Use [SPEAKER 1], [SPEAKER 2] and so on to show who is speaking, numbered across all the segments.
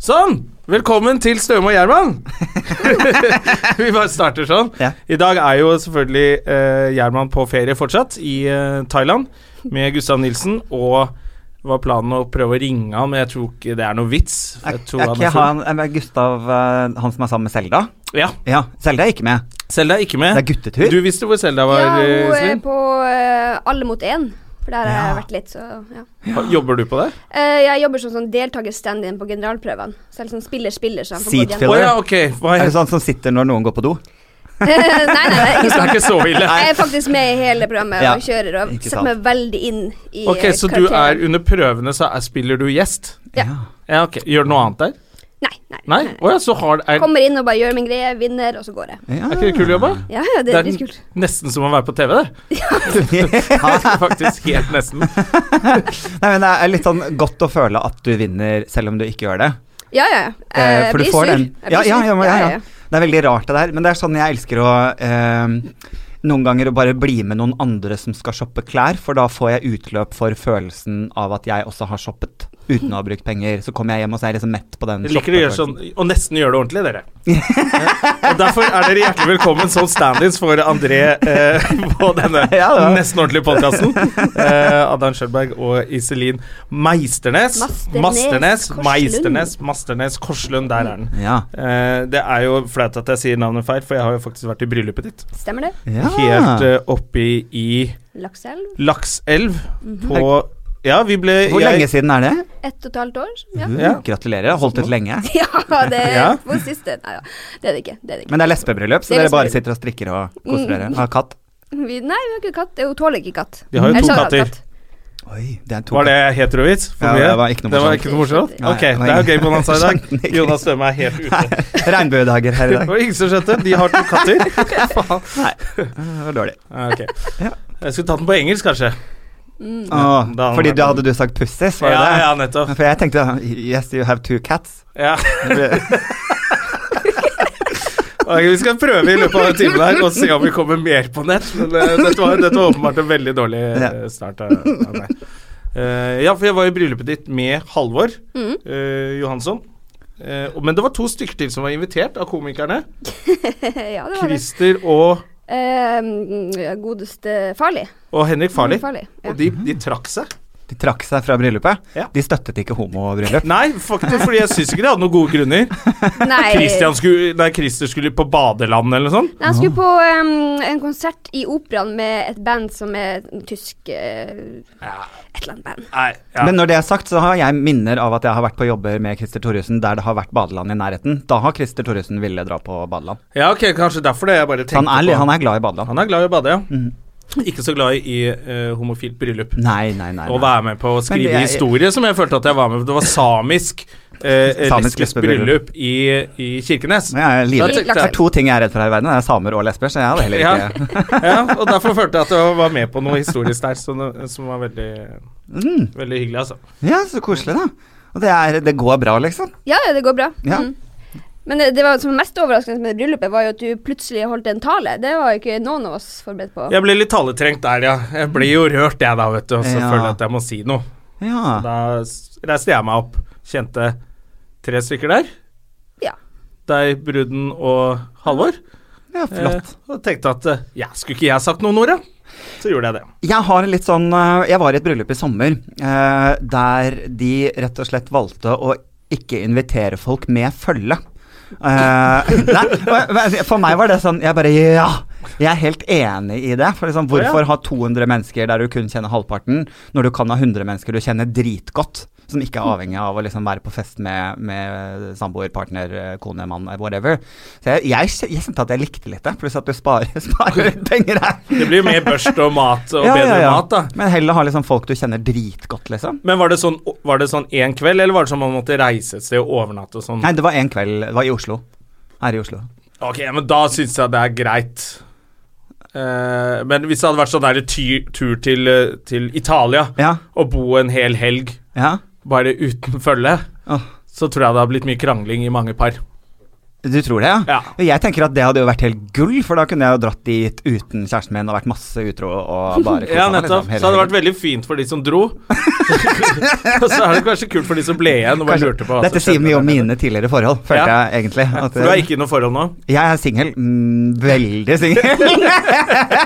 [SPEAKER 1] Sånn! Velkommen til Støme og Gjerman. Vi bare starter sånn.
[SPEAKER 2] Ja.
[SPEAKER 1] I dag er jo selvfølgelig eh, Gjerman på ferie fortsatt, i eh, Thailand, med Gustav Nilsen. Og var planen å prøve å ringe han, men jeg tror ikke det er noe vits.
[SPEAKER 2] Er,
[SPEAKER 1] Jeg tror
[SPEAKER 2] er ikke
[SPEAKER 1] full.
[SPEAKER 2] han, er Gustav eh, han som er sammen med Selda?
[SPEAKER 1] Ja,
[SPEAKER 2] Ja, Selda er ikke med.
[SPEAKER 1] Selda er ikke med.
[SPEAKER 2] Det er guttetur.
[SPEAKER 1] Du visste hvor Selda var,
[SPEAKER 3] Ja,
[SPEAKER 1] eh,
[SPEAKER 3] hun er
[SPEAKER 1] Iselin?
[SPEAKER 3] på eh, Alle mot én. For der har jeg vært litt, så ja.
[SPEAKER 1] Ha- Jobber du på det?
[SPEAKER 3] Eh, jeg jobber som sånn deltaker-stand-in på generalprøvene. Så jeg er litt sånn spiller-spiller. Så han får gå
[SPEAKER 2] Seat
[SPEAKER 3] igjen.
[SPEAKER 1] Å
[SPEAKER 2] filler.
[SPEAKER 1] ja, ok. Hva
[SPEAKER 2] Er
[SPEAKER 1] er
[SPEAKER 2] det sånn som sitter når noen går på do?
[SPEAKER 3] nei, nei, nei, ikke
[SPEAKER 1] Det
[SPEAKER 3] sånn.
[SPEAKER 1] er ikke så ille.
[SPEAKER 3] Jeg er faktisk med i hele programmet
[SPEAKER 2] Ja,
[SPEAKER 3] og kjører og
[SPEAKER 2] ikke
[SPEAKER 3] setter meg veldig inn i
[SPEAKER 1] Ok,
[SPEAKER 3] eh,
[SPEAKER 1] Så du
[SPEAKER 3] karakteren.
[SPEAKER 1] er under prøvene, så er, spiller du gjest?
[SPEAKER 3] Ja.
[SPEAKER 1] Ja, ok. Gjør du noe annet der?
[SPEAKER 3] Nei, nei.
[SPEAKER 1] Nei? Å ja, så har er,
[SPEAKER 3] Kommer inn og bare gjør min greie, vinner, og så går jeg.
[SPEAKER 1] er ikke det kul jobb, da?
[SPEAKER 3] Ja, ja, det
[SPEAKER 1] Det
[SPEAKER 3] er
[SPEAKER 1] er
[SPEAKER 3] dritkult.
[SPEAKER 1] nesten som å være på TV, det. Ja, Faktisk helt nesten.
[SPEAKER 2] Nei, men Det er litt sånn godt å føle at du vinner selv om du ikke gjør det.
[SPEAKER 3] Ja, ja. ja. Eh,
[SPEAKER 2] Eh,
[SPEAKER 3] Jeg
[SPEAKER 2] for du
[SPEAKER 3] blir
[SPEAKER 2] får
[SPEAKER 3] sur.
[SPEAKER 2] den.
[SPEAKER 3] Jeg blir
[SPEAKER 2] Ja, ja,
[SPEAKER 3] sur.
[SPEAKER 2] ja, ja, ja. Det er veldig rart det der, men det er sånn jeg elsker å eh, noen ganger å bare bli med noen andre som skal shoppe klær, for da får jeg utløp for følelsen av at jeg også har shoppet uten å ha brukt penger. Så kommer jeg hjem og så er jeg liksom mett på den.
[SPEAKER 1] Jeg liker å gjøre sånn,
[SPEAKER 2] shoppefølelsen.
[SPEAKER 1] og nesten gjøre det ordentlig, dere. Ja. Og Derfor er dere hjertelig velkommen som stand-ins for André eh, på denne
[SPEAKER 2] Ja, det var-
[SPEAKER 1] nesten ordentlige podkasten. Eh, Adan Schjølberg og Iselin Meisternes.
[SPEAKER 3] Masternes,
[SPEAKER 1] Masternes,
[SPEAKER 3] Korslund.
[SPEAKER 1] Meisternes, Masternes, Korslund. Der er den.
[SPEAKER 2] Ja.
[SPEAKER 1] Eh, det er jo flaut at jeg sier navnet feil, for jeg har jo faktisk vært i bryllupet ditt.
[SPEAKER 3] Stemmer det?
[SPEAKER 2] ja.
[SPEAKER 1] Helt eh, oppe i, i
[SPEAKER 3] Lakselv.
[SPEAKER 1] Lakselv
[SPEAKER 3] Mhm.
[SPEAKER 1] på Ja, vi ble
[SPEAKER 2] Hvor
[SPEAKER 1] jeg-
[SPEAKER 2] lenge siden er det? Mm,
[SPEAKER 3] Ett og et halvt år. Ja.
[SPEAKER 1] Ja.
[SPEAKER 2] Gratulerer, har holdt ut lenge.
[SPEAKER 3] Ja, det er
[SPEAKER 1] Ja.
[SPEAKER 3] på siste Nei da, det er det ikke. Det er det ikke.
[SPEAKER 2] Men det er lesbebryllup, så
[SPEAKER 3] Det er
[SPEAKER 2] dere bare
[SPEAKER 3] lesbebryllup. Mm.
[SPEAKER 2] sitter og strikker og koser dere. Har katt.
[SPEAKER 3] Vi, nei, vi har ikke katt. Hun tåler ikke katt.
[SPEAKER 1] De har jo
[SPEAKER 3] Eller
[SPEAKER 1] to
[SPEAKER 3] så har hun
[SPEAKER 1] katter.
[SPEAKER 3] katt.
[SPEAKER 2] Oi, det er to
[SPEAKER 1] Var det heterovits? For
[SPEAKER 2] Ja,
[SPEAKER 1] mye?
[SPEAKER 2] det var ikke noe
[SPEAKER 1] Det var
[SPEAKER 2] morsomt.
[SPEAKER 1] ikke noe morsomt?
[SPEAKER 2] Nei,
[SPEAKER 1] Ok,
[SPEAKER 2] det var
[SPEAKER 1] det er jo
[SPEAKER 2] ingen-
[SPEAKER 1] gøy bonanza i
[SPEAKER 2] Skjønte
[SPEAKER 1] dag.
[SPEAKER 2] ikke.
[SPEAKER 1] Jonas Støme er helt ute.
[SPEAKER 2] Regnbuedager her i
[SPEAKER 1] Det
[SPEAKER 2] dag.
[SPEAKER 1] var ingen som skjønte. De har to katter.
[SPEAKER 2] Det var dårlig.
[SPEAKER 1] Ja, ok. Jeg skulle tatt den på engelsk, kanskje.
[SPEAKER 2] Åh,
[SPEAKER 1] da-
[SPEAKER 2] fordi Mm. da hadde du sagt pussis, var det
[SPEAKER 1] Ja,
[SPEAKER 2] det?
[SPEAKER 1] ja, nettopp.
[SPEAKER 2] For jeg tenkte Yes, you have two cats.
[SPEAKER 1] Ja. Ok, vi skal prøve i løpet av den timen her og se om vi kommer mer på nett. Men eh, dette, var, dette var åpenbart en veldig dårlig eh, start av, av meg. Eh, ja, for jeg var i bryllupet ditt med Halvor eh, Johansson. Eh, og- men det var to stykker til som var invitert av komikerne.
[SPEAKER 3] ja, det var det.
[SPEAKER 1] Christer og
[SPEAKER 3] Eh, godeste Farlig.
[SPEAKER 1] Og Henrik Farley.
[SPEAKER 3] Farley, ja.
[SPEAKER 1] Og de, de trakk seg.
[SPEAKER 2] De trakk seg fra bryllupet.
[SPEAKER 1] Ja.
[SPEAKER 2] De støttet ikke homobryllup.
[SPEAKER 1] Nei, faktisk, fordi jeg syns ikke de hadde noen gode grunner.
[SPEAKER 2] Eh.
[SPEAKER 3] Nei,
[SPEAKER 1] Christian skulle, nei, Christer skulle på badeland eller noe sånt.
[SPEAKER 3] nei, han skulle på em, en konsert i operaen med et band som er tysk eh, Et eller annet band.
[SPEAKER 1] Nei, ja.
[SPEAKER 2] Men når det er sagt, så har jeg minner av at jeg har vært på jobber med Christer Thoresen der det har vært badeland i nærheten. Da har Christer Thoresen ville dra på badeland.
[SPEAKER 1] ja, ok, kanskje derfor det. Jeg bare tenkte
[SPEAKER 2] Så han er, Mm.
[SPEAKER 1] på
[SPEAKER 2] han er glad i badeland.
[SPEAKER 1] Han er glad i å bade, ja. Ikke så glad i eh, homofilt bryllup.
[SPEAKER 2] Nei, nei, nei.
[SPEAKER 1] Å
[SPEAKER 2] nei.
[SPEAKER 1] være med på å skrive
[SPEAKER 2] jeg-
[SPEAKER 1] historie, som jeg følte at jeg var med på. Det var samisk, eh,
[SPEAKER 2] Samisk
[SPEAKER 1] lesbisk bryllup
[SPEAKER 2] lesbebryllup.
[SPEAKER 1] i, i Kirkenes.
[SPEAKER 2] Men jeg er
[SPEAKER 1] Da
[SPEAKER 2] livredd.
[SPEAKER 1] tenkte
[SPEAKER 2] Det
[SPEAKER 1] jeg-
[SPEAKER 2] er to ting jeg er redd for her i verden. Det er samer og lesber, så jeg hadde heller
[SPEAKER 1] Ja.
[SPEAKER 2] ikke
[SPEAKER 1] ja, og derfor følte jeg at jeg var med på noe historisk der, som, som var veldig,
[SPEAKER 2] Mm.
[SPEAKER 1] veldig hyggelig, altså.
[SPEAKER 2] Ja, så koselig, da. Og det, er, det går bra, liksom.
[SPEAKER 3] Ja, ja, det går bra.
[SPEAKER 2] Ja.
[SPEAKER 3] Mm. Men det, det var som mest overraskende med bryllupet, var jo at du plutselig holdt en tale. Det var jo ikke noen av oss forberedt på.
[SPEAKER 1] Jeg ble litt taletrengt der, ja. Jeg blir jo rørt, jeg da, vet du. Og så
[SPEAKER 2] Ja.
[SPEAKER 1] føler jeg at jeg må si noe.
[SPEAKER 2] Ja.
[SPEAKER 1] Da s- reiste jeg meg opp. Kjente tre stykker der.
[SPEAKER 3] Ja.
[SPEAKER 1] Deg, bruden og Halvor.
[SPEAKER 2] ja flott.
[SPEAKER 1] Eh, og tenkte at eh, ja, skulle ikke jeg sagt noen ord, da? Så gjorde jeg det.
[SPEAKER 2] Jeg har litt sånn eh, Jeg var i et bryllup i sommer eh, der de rett og slett valgte å ikke invitere folk med følge. Eh, nei, for meg var det sånn Jeg bare Ja! Jeg er helt enig i det. For liksom, hvorfor ha 200 mennesker der du kun kjenner halvparten, når du kan ha 100 mennesker du kjenner dritgodt, som ikke er avhengig av å liksom være på fest med, med samboer, partner, kone, mann, whatever. Så jeg, jeg, kj- jeg kjente at jeg likte litt det, pluss at du sparer, sparer litt penger her.
[SPEAKER 1] Det blir jo mer børst og mat og bedre mat, da.
[SPEAKER 2] Men heller ha liksom folk du kjenner dritgodt, liksom.
[SPEAKER 1] Men var det sånn Var det sånn én kveld, eller var det sånn man måtte reise et sted og overnatte og sånn?
[SPEAKER 2] Nei, det var en kveld, det var i Oslo. Her i Oslo.
[SPEAKER 1] Ok, men da syns jeg det er greit. Eh, men hvis det hadde vært sånn der ty- tur til, eh, til Italia
[SPEAKER 2] Ja.
[SPEAKER 1] og bo en hel helg
[SPEAKER 2] ja.
[SPEAKER 1] bare uten følge,
[SPEAKER 2] Åh.
[SPEAKER 1] så tror jeg det hadde blitt mye krangling i mange par.
[SPEAKER 2] Du tror det, ja?
[SPEAKER 1] Ja.
[SPEAKER 2] Men Jeg tenker at det hadde jo vært helt gull, for da kunne jeg jo dratt dit uten kjæresten min og vært masse utro og bare koset
[SPEAKER 1] Ja,
[SPEAKER 2] meg,
[SPEAKER 1] nettopp.
[SPEAKER 2] liksom, hele
[SPEAKER 1] så hadde det vært
[SPEAKER 2] helgen.
[SPEAKER 1] veldig fint for de som dro. og så er det kanskje kult for de som ble igjen og bare
[SPEAKER 2] Kanskje-
[SPEAKER 1] lurte på hva
[SPEAKER 2] Dette
[SPEAKER 1] som
[SPEAKER 2] sier mye
[SPEAKER 1] skjedde.
[SPEAKER 2] om mine tidligere forhold, følte
[SPEAKER 1] Ja.
[SPEAKER 2] jeg egentlig. At,
[SPEAKER 1] For du er ikke i noe forhold nå?
[SPEAKER 2] Jeg er singel. Mm, veldig singel.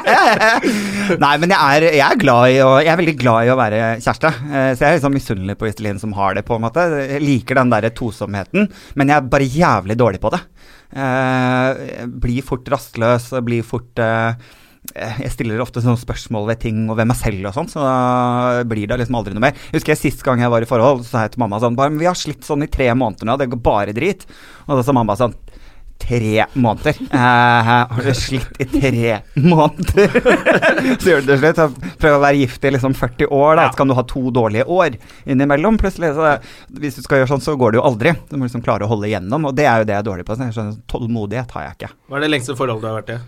[SPEAKER 2] Nei, men jeg er, jeg er glad i å Jeg er veldig glad i å være kjæreste. Eh, Så jeg er liksom misunnelig på Iselin som har det, på en måte. Jeg liker den derre tosomheten, men jeg er bare jævlig dårlig på det. Eh, jeg Blir fort rastløs, jeg blir fort eh, eh, jeg stiller ofte sånne spørsmål ved ting og ved meg selv og sånn, så da blir det liksom aldri noe mer. Jeg husker jeg sist gang jeg var i forhold, så sa jeg til mamma sånn bare, Men vi har slitt sånn i tre måneder nå, det går bare drit. Og da sa mamma sånn Tre måneder. Eh, har du slitt i tre måneder? så gjør du det til slutt. så Prøv å være gift i liksom 40 år, da.
[SPEAKER 1] Ja.
[SPEAKER 2] Så kan du ha to dårlige år innimellom. Plutselig, så Hvis du skal gjøre sånn, så går det jo aldri. Du må liksom klare å holde igjennom, og det er jo det jeg er dårlig på. Så jeg skjønner, tålmodighet har jeg ikke.
[SPEAKER 1] Hva er det lengste forholdet du har vært i?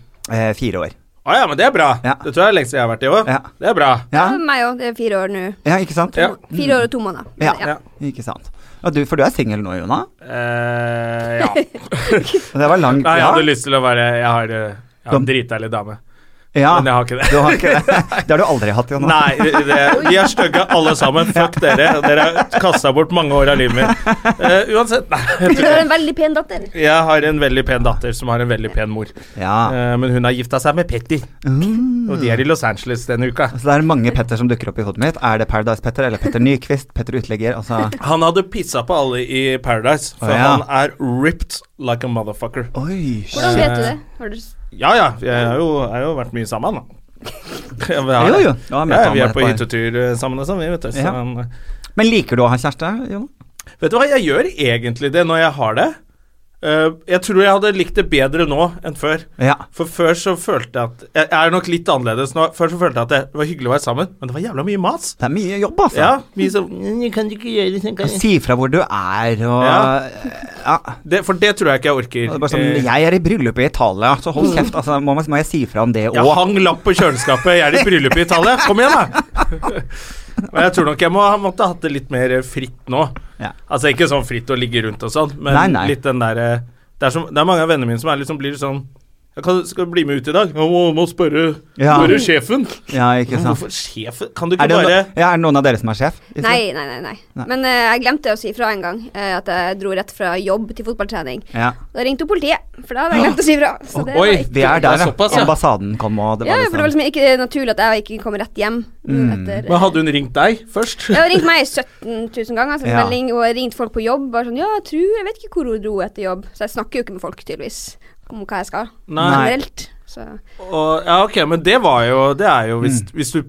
[SPEAKER 2] Eh, fire år.
[SPEAKER 1] Å ja, men det er bra.
[SPEAKER 2] Ja.
[SPEAKER 1] Det tror jeg er det lengste jeg har vært i òg.
[SPEAKER 2] Ja.
[SPEAKER 1] Det er bra.
[SPEAKER 2] Ja,
[SPEAKER 3] Ja, meg òg. Det er fire år nå.
[SPEAKER 2] ja ikke sant?
[SPEAKER 1] Ja.
[SPEAKER 3] Fire år og to måneder.
[SPEAKER 2] Ja.
[SPEAKER 1] Ja.
[SPEAKER 2] Ikke sant. Og du, for du er singel nå, Jona?
[SPEAKER 1] Eh, ja.
[SPEAKER 2] Det var langt.
[SPEAKER 1] Nei, jeg
[SPEAKER 2] ja.
[SPEAKER 1] hadde lyst til å være Jeg har, eh, jeg har en dritdeilig dame.
[SPEAKER 2] ja.
[SPEAKER 1] Men jeg har ikke det.
[SPEAKER 2] Du har ikke det. Det har du aldri hatt, Jona.
[SPEAKER 1] Nei, det, det- vi er stygge alle sammen. Fuck dere. Dere har kasta bort mange år av livet mitt. Eh, uansett, nei. jeg
[SPEAKER 3] Du
[SPEAKER 1] tror-
[SPEAKER 3] har en veldig pen datter.
[SPEAKER 1] Jeg har en veldig pen datter som har en veldig pen mor.
[SPEAKER 2] Ja.
[SPEAKER 1] Eh, men hun har gifta seg med Petter,
[SPEAKER 2] Mm.
[SPEAKER 1] og de er i Los Angeles denne uka.
[SPEAKER 2] Så Altså, det er mange Petter som dukker opp i hodet mitt. Er det Paradise-Petter eller Petter Nyquist? Petter Uteligger? Altså
[SPEAKER 1] Han hadde pissa på alle i Paradise, for
[SPEAKER 2] Å, ja.
[SPEAKER 1] han er ripped like a motherfucker.
[SPEAKER 2] Oi. shit.
[SPEAKER 3] Hvordan vet du det? Har du s-
[SPEAKER 1] Ja ja, jeg har jo, jeg har jo vært mye sammen, da. Jeg har-
[SPEAKER 2] Jo, jo. Ja, men
[SPEAKER 1] Ja,
[SPEAKER 2] ta
[SPEAKER 1] vi
[SPEAKER 2] med
[SPEAKER 1] er på
[SPEAKER 2] et par.
[SPEAKER 1] hyttetur eh, sammen og sånn, vi, vet du. Så,
[SPEAKER 2] Ja.
[SPEAKER 1] han-
[SPEAKER 2] Men liker du å ha kjæreste, Jona?
[SPEAKER 1] vet du hva, jeg gjør egentlig det når jeg har det. Eh, jeg tror jeg hadde likt det bedre nå enn før.
[SPEAKER 2] Ja.
[SPEAKER 1] For før så følte jeg at Jeg jeg er nok litt annerledes nå. Før så følte jeg at det var hyggelig å være sammen, men det var jævla mye mas.
[SPEAKER 2] Det er mye jobb, altså.
[SPEAKER 1] Ja, mye sånn «Mm, Kan du ikke gjøre det sånn, kan jeg?»
[SPEAKER 2] Si fra hvor du er, og
[SPEAKER 1] Ja.
[SPEAKER 2] Ja.
[SPEAKER 1] det, For det tror jeg ikke jeg orker.
[SPEAKER 2] Det er bare sånn,
[SPEAKER 1] Eh,
[SPEAKER 2] jeg er i bryllup i Italia, så hold kjeft. Altså, må, må jeg si fra om det
[SPEAKER 1] jeg
[SPEAKER 2] òg?
[SPEAKER 1] hang lapp på kjøleskapet. Jeg er i bryllup i Italia. Kom igjen, da! Men jeg tror nok jeg må, måtte ha hatt det litt mer eh, fritt nå.
[SPEAKER 2] Ja.
[SPEAKER 1] Altså ikke sånn fritt å ligge rundt og sånn, men
[SPEAKER 2] Nei, nei.
[SPEAKER 1] litt den derre det, er som- det er mange av vennene mine som er liksom, blir sånn jeg kan, 'Skal du bli med ut i dag?' 'Jeg må, må spørre,
[SPEAKER 2] Ja.
[SPEAKER 1] spørre sjefen.'
[SPEAKER 2] Ja, ikke sant.
[SPEAKER 1] Hvorfor sjefen? Kan du ikke
[SPEAKER 2] Er det, no
[SPEAKER 1] bare
[SPEAKER 2] ja, er det noen av dere som er sjef?
[SPEAKER 3] Nei, nei, nei. nei.
[SPEAKER 2] Nei.
[SPEAKER 3] Men eh, jeg glemte å si fra en gang eh, at jeg dro rett fra jobb til fotballtrening.
[SPEAKER 2] Ja.
[SPEAKER 3] Da ringte jo politiet, for da hadde jeg glemt å si fra. Så det
[SPEAKER 1] Oi,
[SPEAKER 3] var ikke
[SPEAKER 2] Vi er
[SPEAKER 1] Det er
[SPEAKER 2] der, ja.
[SPEAKER 1] såpass, ja.
[SPEAKER 2] Ambassaden kom, og det
[SPEAKER 3] Ja,
[SPEAKER 2] var
[SPEAKER 3] for det var
[SPEAKER 2] liksom
[SPEAKER 3] liksom ikke naturlig at jeg ikke kom rett hjem. Mm. Etter,
[SPEAKER 1] Men hadde hun ringt deg først?
[SPEAKER 3] Jeg har ringt meg 17 000 ganger, sendt
[SPEAKER 2] Ja.
[SPEAKER 3] melding, og ringt folk på jobb. Bare sånn, ja, jeg tror, jeg vet ikke hvor hun dro etter jobb. Så jeg snakker jo ikke med folk, tydeligvis, om hva jeg skal.
[SPEAKER 1] Nei.
[SPEAKER 3] Generelt. Så.
[SPEAKER 1] Og, ja, ok, men det var jo Det er jo
[SPEAKER 2] Mm.
[SPEAKER 1] hvis, hvis, du,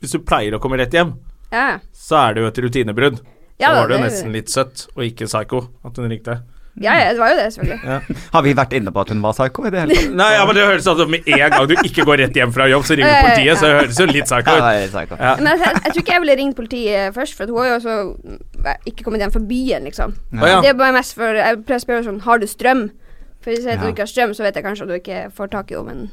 [SPEAKER 1] hvis du pleier å komme rett hjem,
[SPEAKER 3] Ja, ja.
[SPEAKER 1] så er det jo et rutinebrudd.
[SPEAKER 3] Ja,
[SPEAKER 1] så var det
[SPEAKER 3] det-
[SPEAKER 1] jo nesten litt søtt og ikke psycho at hun ringte.
[SPEAKER 3] ja, ja, det var jo det, selvfølgelig.
[SPEAKER 2] Har vi vært inne på at hun var psyko i det hele tatt?
[SPEAKER 1] Nei, ja, men det høres ut som med en gang du ikke går rett hjem fra jobb, så ringer
[SPEAKER 3] Ja, ja, ja.
[SPEAKER 1] politiet, så det høres jo litt psycho
[SPEAKER 2] Ja,
[SPEAKER 1] ut.
[SPEAKER 2] det er psyko.
[SPEAKER 1] Ja.
[SPEAKER 3] Men jeg, jeg, jeg tror ikke jeg ville ringt politiet først, for at hun har jo også mm, ikke kommet hjem fra byen, liksom.
[SPEAKER 1] Å, ja.
[SPEAKER 3] Det er bare mest for Jeg pleier å spørre sånn Har du strøm? For hvis jeg sier at
[SPEAKER 2] Ja.
[SPEAKER 3] du ikke har strøm, så vet jeg kanskje at du ikke får tak i henne, men,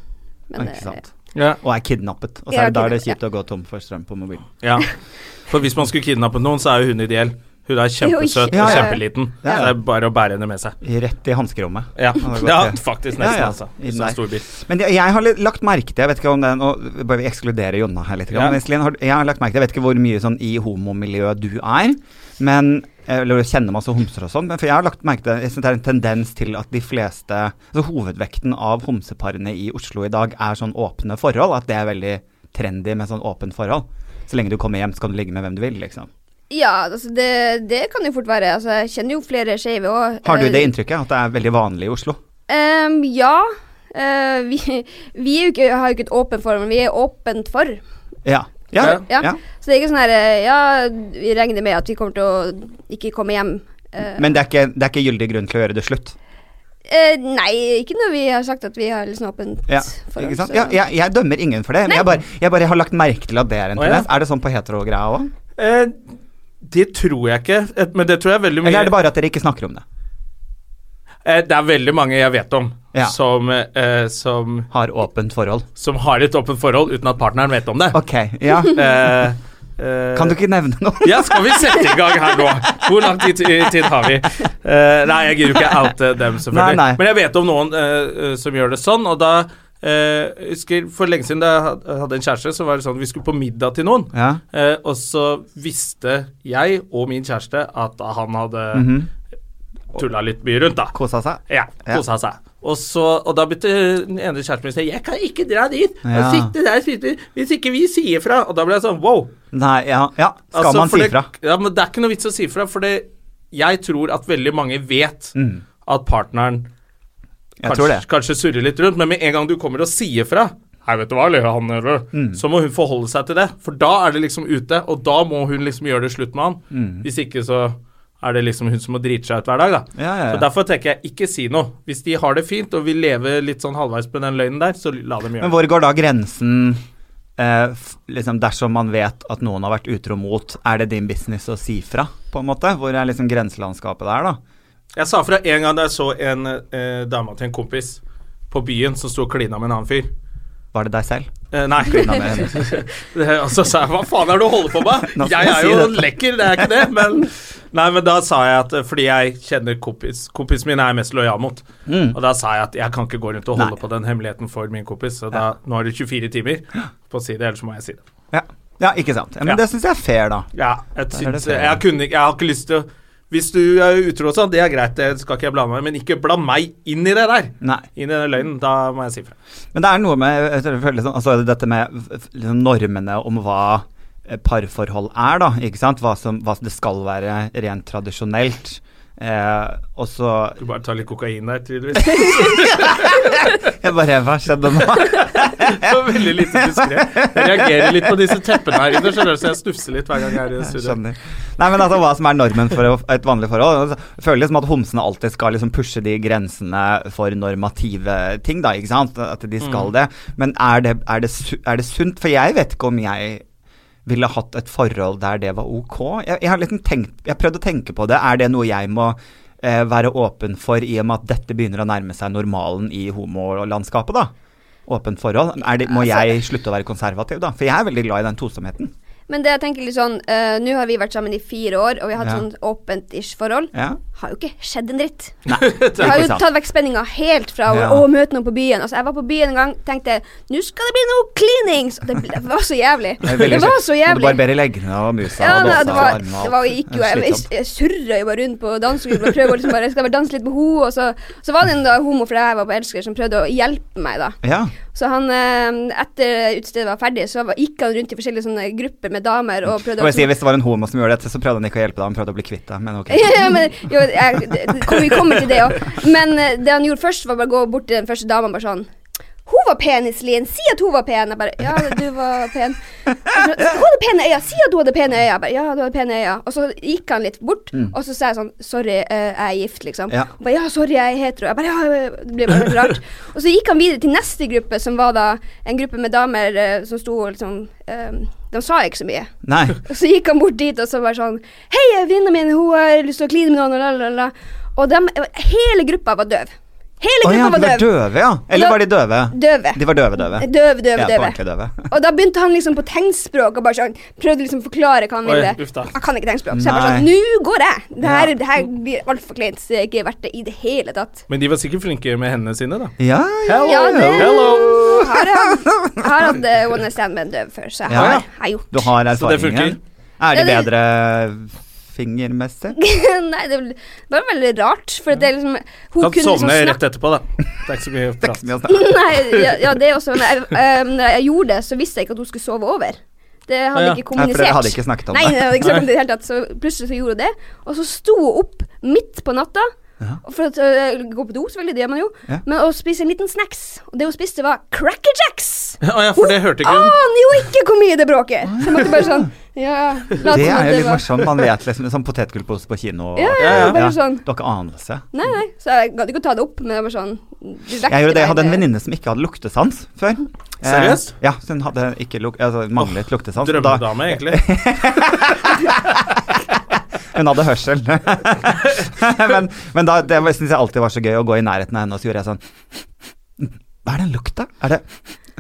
[SPEAKER 3] men
[SPEAKER 2] Ikke sant.
[SPEAKER 1] Ja.
[SPEAKER 2] Og er kidnappet. Og så
[SPEAKER 3] Ja,
[SPEAKER 2] er det, da er det
[SPEAKER 3] kidnappet,
[SPEAKER 2] kjipt å gå tom for strøm på mobilen.
[SPEAKER 1] Ja. For hvis man skulle kidnappe noen, så er jo hun ideell. Hun er kjempesøt
[SPEAKER 3] Ja,
[SPEAKER 1] og
[SPEAKER 2] ja.
[SPEAKER 1] kjempeliten.
[SPEAKER 2] Ja, ja.
[SPEAKER 1] Så det er bare å bære henne med seg.
[SPEAKER 2] Rett i hanskerommet.
[SPEAKER 1] Ja,
[SPEAKER 2] det er godt,
[SPEAKER 1] ja
[SPEAKER 2] det.
[SPEAKER 1] faktisk
[SPEAKER 2] Ja,
[SPEAKER 1] nesten,
[SPEAKER 2] ja.
[SPEAKER 1] altså.
[SPEAKER 2] Inn
[SPEAKER 1] Sånn
[SPEAKER 2] der.
[SPEAKER 1] storbil.
[SPEAKER 2] Men jeg, jeg har litt lagt merke til, jeg vet ikke om det er- Nå bør vi ekskludere Jonna her litt.
[SPEAKER 1] Ja.
[SPEAKER 2] grann, men Iselin, har- Jeg har lagt merke til, jeg vet ikke hvor mye sånn i homomiljøet du er, men eh, eller jeg kjenner masse homser og sånn, men for jeg har lagt merke til Jeg synes det er en tendens til at de fleste Altså hovedvekten av homseparene i Oslo i dag er sånn åpne forhold. At det er veldig trendy med sånn åpent forhold. Så lenge du kommer hjem, så kan du ligge med hvem du vil, liksom.
[SPEAKER 3] Ja, altså det, det kan jo fort være. Altså, jeg kjenner jo flere skeive òg.
[SPEAKER 2] Har du det inntrykket at det er veldig vanlig i Oslo?
[SPEAKER 3] ja. Eh, vi vi er jo ikke, har jo ikke et åpent forum, vi er åpent for.
[SPEAKER 2] Ja. Ja.
[SPEAKER 3] Ja.
[SPEAKER 2] ja.
[SPEAKER 3] Så det er ikke sånn her eh, Ja, vi regner med at vi kommer til å ikke komme hjem. Eh,
[SPEAKER 2] Men det er, ikke, det er ikke gyldig grunn til å gjøre det slutt.
[SPEAKER 3] eh, nei, ikke når vi har sagt at vi har liksom åpent
[SPEAKER 2] Ja,
[SPEAKER 3] forum.
[SPEAKER 2] ikke sant?
[SPEAKER 3] så-
[SPEAKER 2] Ja, jeg, jeg dømmer ingen for det, men jeg bare, jeg bare har lagt merke til at det er
[SPEAKER 1] Å,
[SPEAKER 2] en
[SPEAKER 1] ja.
[SPEAKER 2] tendens. Er det sånn på hetero-greia òg?
[SPEAKER 1] Eh, det tror jeg ikke, eh, men det tror jeg er veldig mye
[SPEAKER 2] Eller er det bare at dere ikke snakker om det?
[SPEAKER 1] eh, Det er veldig mange jeg vet om
[SPEAKER 2] Ja.
[SPEAKER 1] som, eh, som,
[SPEAKER 2] Har åpent forhold.
[SPEAKER 1] som har et åpent forhold uten at partneren vet om det.
[SPEAKER 2] Ok, ja.
[SPEAKER 1] Eh, eh,
[SPEAKER 2] Kan du ikke nevne noe?
[SPEAKER 1] Ja, skal vi sette i gang her nå? Hvor lang tid, tid har vi? Eh, nei, jeg gidder jo ikke oute dem, selvfølgelig.
[SPEAKER 2] Nei, nei.
[SPEAKER 1] Men jeg vet om noen eh, eh, som gjør det sånn, og da eh, jeg husker For lenge siden da jeg had- hadde en kjæreste, så var det sånn vi skulle på middag til noen.
[SPEAKER 2] Ja.
[SPEAKER 1] Eh, og så visste jeg og min kjæreste at han hadde tulla litt mye rundt, da.
[SPEAKER 2] Kosa seg?
[SPEAKER 1] Ja,
[SPEAKER 2] Mhm. Ja.
[SPEAKER 1] kosa seg. Og, så, og da begynte den ene kjæresten min å si 'Jeg kan ikke dra dit
[SPEAKER 2] Ja.
[SPEAKER 1] og sitte der sitte, hvis ikke vi sier fra'. Og da ble jeg sånn wow.
[SPEAKER 2] Nei, ja. ja. Skal
[SPEAKER 1] Altså,
[SPEAKER 2] man
[SPEAKER 1] for
[SPEAKER 2] si
[SPEAKER 1] det-
[SPEAKER 2] fra?
[SPEAKER 1] Ja, men det er ikke noe vits å si fra, for det, jeg tror at veldig mange vet at partneren
[SPEAKER 2] Mm. Jeg tror
[SPEAKER 1] kanskje,
[SPEAKER 2] det.
[SPEAKER 1] kanskje surrer litt rundt, men med en gang du kommer og sier fra Hei, vet du hva, eller han, eller,
[SPEAKER 2] Mm.
[SPEAKER 1] Så må hun forholde seg til det, for da er det liksom ute, og da må hun liksom gjøre det slutt med han.
[SPEAKER 2] Mm.
[SPEAKER 1] Hvis ikke så er det liksom hun som må drite seg ut hver dag, da.
[SPEAKER 2] Ja, ja, ja.
[SPEAKER 1] Så Derfor tenker jeg, ikke si noe. Hvis de har det fint og vil leve litt sånn halvveis på den løgnen der, så la dem
[SPEAKER 2] Men
[SPEAKER 1] gjøre det.
[SPEAKER 2] hvor går da grensen eh, f- liksom dersom man vet at noen har vært utro mot Er det din business å si fra, på en måte? Hvor er liksom grenselandskapet der, da?
[SPEAKER 1] Jeg sa fra en gang da jeg så en eh, dame til en kompis på byen som sto og klina med en annen fyr.
[SPEAKER 2] Var det deg selv?
[SPEAKER 1] Eh, nei.
[SPEAKER 2] Nei, men-
[SPEAKER 1] Det- Og så sa jeg hva faen er det du holder på
[SPEAKER 2] Nå
[SPEAKER 1] med? Jeg
[SPEAKER 2] skal jeg
[SPEAKER 1] er
[SPEAKER 2] si
[SPEAKER 1] jo
[SPEAKER 2] dette.
[SPEAKER 1] lekker, det er ikke det, men Nei, men da sa jeg at eh, fordi jeg kjenner kompis Kompisen min er jeg mest lojal mot. Og da sa jeg at jeg kan ikke gå rundt og holde
[SPEAKER 2] Mm. Nei.
[SPEAKER 1] på den hemmeligheten for min kompis, så da, nå har du 24 timer på å si det, ellers må jeg si det.
[SPEAKER 2] Ja. ja, ikke sant. Ja, men
[SPEAKER 1] Ja.
[SPEAKER 2] det syns jeg er fair, da.
[SPEAKER 1] Ja, jeg,
[SPEAKER 2] er det
[SPEAKER 1] syns,
[SPEAKER 2] fair,
[SPEAKER 1] jeg,
[SPEAKER 2] ja.
[SPEAKER 1] kunne, ikke- jeg har ikke lyst til å Hvis du er utro og sånn, det er greit, det skal ikke jeg blande meg i, men ikke bland meg inn i det der.
[SPEAKER 2] Nei.
[SPEAKER 1] Inn i den løgnen. Da må jeg si fra.
[SPEAKER 2] Men det er noe med jeg føler liksom, altså dette med f- liksom normene om hva eh, parforhold er, da. Ikke sant? Hva, som, hva det skal være rent tradisjonelt. Eh, og så
[SPEAKER 1] Du bare tar litt kokain der, tydeligvis.
[SPEAKER 2] Jeg bare Hva skjedde nå?
[SPEAKER 1] Så veldig lite diskré. Jeg reagerer litt på disse teppene her inne, skjønner du, så jeg snufser litt hver gang jeg er i
[SPEAKER 2] Jeg
[SPEAKER 1] studio.
[SPEAKER 2] Skjønner. Nei, men altså hva som er normen for å- et vanlig forhold. Altså, Jeg føler liksom at homsene alltid skal liksom pushe de grensene for normative ting, da, ikke sant. At de skal det. Men er det, er, det, su- er det sunt? For jeg vet ikke om jeg ville hatt et forhold der det var ok. Jeg, jeg har liksom tenkt Jeg har prøvd å tenke på det. Er det noe jeg må eh, være åpen for i og med at dette begynner å nærme seg normalen i homolandskapet, da? Åpent forhold. Er det, må jeg slutte å være konservativ, da? For jeg er veldig glad i den tosomheten.
[SPEAKER 3] Men det jeg tenker litt sånn eh, Nå har vi vært sammen i fire år, og vi har hatt
[SPEAKER 2] Ja.
[SPEAKER 3] sånn åpent-ish forhold.
[SPEAKER 2] Ja.
[SPEAKER 3] Har jo ikke skjedd en dritt.
[SPEAKER 1] Det
[SPEAKER 3] Vi
[SPEAKER 1] er
[SPEAKER 3] har jo
[SPEAKER 2] sant.
[SPEAKER 3] tatt vekk spenninga helt fra å,
[SPEAKER 2] Ja.
[SPEAKER 3] å møte noen på byen. Altså, jeg var på byen en gang, tenkte nå skal det bli noe cleanings! Og det, ble, det var så jævlig.
[SPEAKER 2] Det er veldig
[SPEAKER 3] Det var
[SPEAKER 2] slitsomt.
[SPEAKER 3] så
[SPEAKER 2] Må Du
[SPEAKER 3] jævlig.
[SPEAKER 2] barberer leggene og musa
[SPEAKER 3] Ja,
[SPEAKER 2] og
[SPEAKER 3] nei,
[SPEAKER 2] dåsa
[SPEAKER 3] det var,
[SPEAKER 2] og
[SPEAKER 3] det var, gikk jo, jeg, jeg,
[SPEAKER 2] Slitsomt.
[SPEAKER 3] jeg surra jo bare rundt på dansegulvet og prøvde å liksom bare, skal jeg bare danse litt med henne. Og så, så var det en da, homo fra jeg var på Elsker som prøvde å hjelpe meg, da.
[SPEAKER 2] Ja.
[SPEAKER 3] Så han, eh, etter utestedet var ferdig, så var, gikk han rundt i forskjellige sånne grupper med damer og
[SPEAKER 2] Jeg
[SPEAKER 3] prøvde
[SPEAKER 2] må
[SPEAKER 3] å
[SPEAKER 2] si, hvis det var en homo som gjorde dette, så prøvde han ikke å hjelpe deg, han prøvde å bli kvitt deg, men ok.
[SPEAKER 3] ja, ja, men jo, jeg, det- det- kom, vi kommer til det òg. Men eh, det han gjorde først, var bare å gå bort til den første dama og bare sånn hun var pen, Iselin. Si at hun var pen. Jeg bare Ja, du var pen. Og så, Hun hadde pene øyne. Si at hun hadde pene øyne. Jeg bare, ja, du hadde pene øyne. Og så gikk han litt bort, og så sa jeg sånn Sorry, eh, jeg er gift, liksom.
[SPEAKER 2] Mm. Ja.
[SPEAKER 3] Hun bare, ja, sorry, jeg er hetero. Jeg bare, ja, det blir bare helt rart. Og så gikk han videre til neste gruppe, som var da en gruppe med damer eh, som sto og liksom eh, De sa ikke så mye.
[SPEAKER 2] Nei.
[SPEAKER 3] Og så gikk han bort dit og så bare sånn Hei, venninna mi, hun har lyst til å kline med noen, og la, la, la. Og dem, hele gruppa var døv. Hele
[SPEAKER 2] Å
[SPEAKER 3] gruppa
[SPEAKER 2] ja, de
[SPEAKER 3] var
[SPEAKER 2] var
[SPEAKER 3] døv.
[SPEAKER 2] døve, ja. Eller var de døve?
[SPEAKER 3] Døve.
[SPEAKER 2] De var døve-døve.
[SPEAKER 3] Døv, døv,
[SPEAKER 2] Ja, på
[SPEAKER 3] døve.
[SPEAKER 2] ordentlig døve.
[SPEAKER 3] Og da begynte han liksom på tegnspråk og bare sånn prøvde liksom å forklare hva han
[SPEAKER 1] Oi,
[SPEAKER 3] ville.
[SPEAKER 1] uff da.
[SPEAKER 3] Han kan ikke tegnspråk. Så jeg bare
[SPEAKER 2] Nei.
[SPEAKER 3] sånn Nå går jeg! Det her,
[SPEAKER 2] Ja.
[SPEAKER 3] det her blir altfor kleint. så Det er ikke verdt det i det hele tatt.
[SPEAKER 1] Men de var sikkert flinke med hendene sine, da.
[SPEAKER 2] Ja, ja.
[SPEAKER 3] Ja, det
[SPEAKER 1] Hello!
[SPEAKER 3] har jeg hatt- jeg har hatt eh, One Night Stand med en døv før, så jeg
[SPEAKER 2] Ja,
[SPEAKER 3] har,
[SPEAKER 2] ja.
[SPEAKER 3] jeg har gjort
[SPEAKER 2] Du har
[SPEAKER 1] Så det
[SPEAKER 2] erfaringen.
[SPEAKER 1] funker.
[SPEAKER 2] Er de
[SPEAKER 3] Ja, det-
[SPEAKER 2] bedre fingermessig?
[SPEAKER 3] Nei, det var veldig rart, for det er liksom Hun
[SPEAKER 1] Kan
[SPEAKER 3] kunne liksom
[SPEAKER 1] sovne
[SPEAKER 3] snakke
[SPEAKER 1] rett etterpå, da. Det er ikke så mye prat.
[SPEAKER 2] Mye å snakke om.
[SPEAKER 3] Nei, ja, ja, det er også men jeg, eh, Når jeg gjorde det, så visste jeg ikke at hun skulle sove over. Det hadde
[SPEAKER 1] Ah, ja.
[SPEAKER 3] ikke
[SPEAKER 2] Nei, for
[SPEAKER 3] kommunisert.
[SPEAKER 2] dere hadde ikke snakket om
[SPEAKER 3] Nei,
[SPEAKER 2] det.
[SPEAKER 3] jeg hadde ikke snakket om det i det hele tatt, så plutselig så gjorde hun det. Og så sto hun opp midt på natta
[SPEAKER 2] Ja.
[SPEAKER 3] Og For å øh, gå på do, selvfølgelig, det gjør man jo.
[SPEAKER 2] Ja.
[SPEAKER 3] Men å spise en liten snacks. Og det hun spiste, var Cracker Jacks!
[SPEAKER 1] Å ja, for det hørte ikke
[SPEAKER 2] Ah!
[SPEAKER 1] hun.
[SPEAKER 3] Aner jo ikke hvor mye det bråker! Så jeg måtte bare sånn Ja, la
[SPEAKER 2] Det er jo litt
[SPEAKER 3] var-
[SPEAKER 2] morsomt. Man vet liksom sånn potetgullpose på kino. og-
[SPEAKER 3] Ja, ja,
[SPEAKER 1] Ja,
[SPEAKER 3] ja,
[SPEAKER 1] ja.
[SPEAKER 3] bare sånn.
[SPEAKER 2] Du har ikke anelse.
[SPEAKER 3] Nei, nei. Så jeg gadd ikke å ta det opp, men jeg var sånn du
[SPEAKER 2] Jeg gjorde det, jeg hadde en
[SPEAKER 3] rekker deg
[SPEAKER 2] venninne som ikke hadde luktesans før. Eh,
[SPEAKER 1] Seriøst?
[SPEAKER 2] ja, så hun hadde ikke luk altså, manglet luktesans. og Da,
[SPEAKER 1] Drømmedame, egentlig.
[SPEAKER 2] hun hadde hørsel. men men da, det syns jeg alltid var så gøy å gå i nærheten av henne, og så gjorde jeg sånn Hva er den lukta? Er det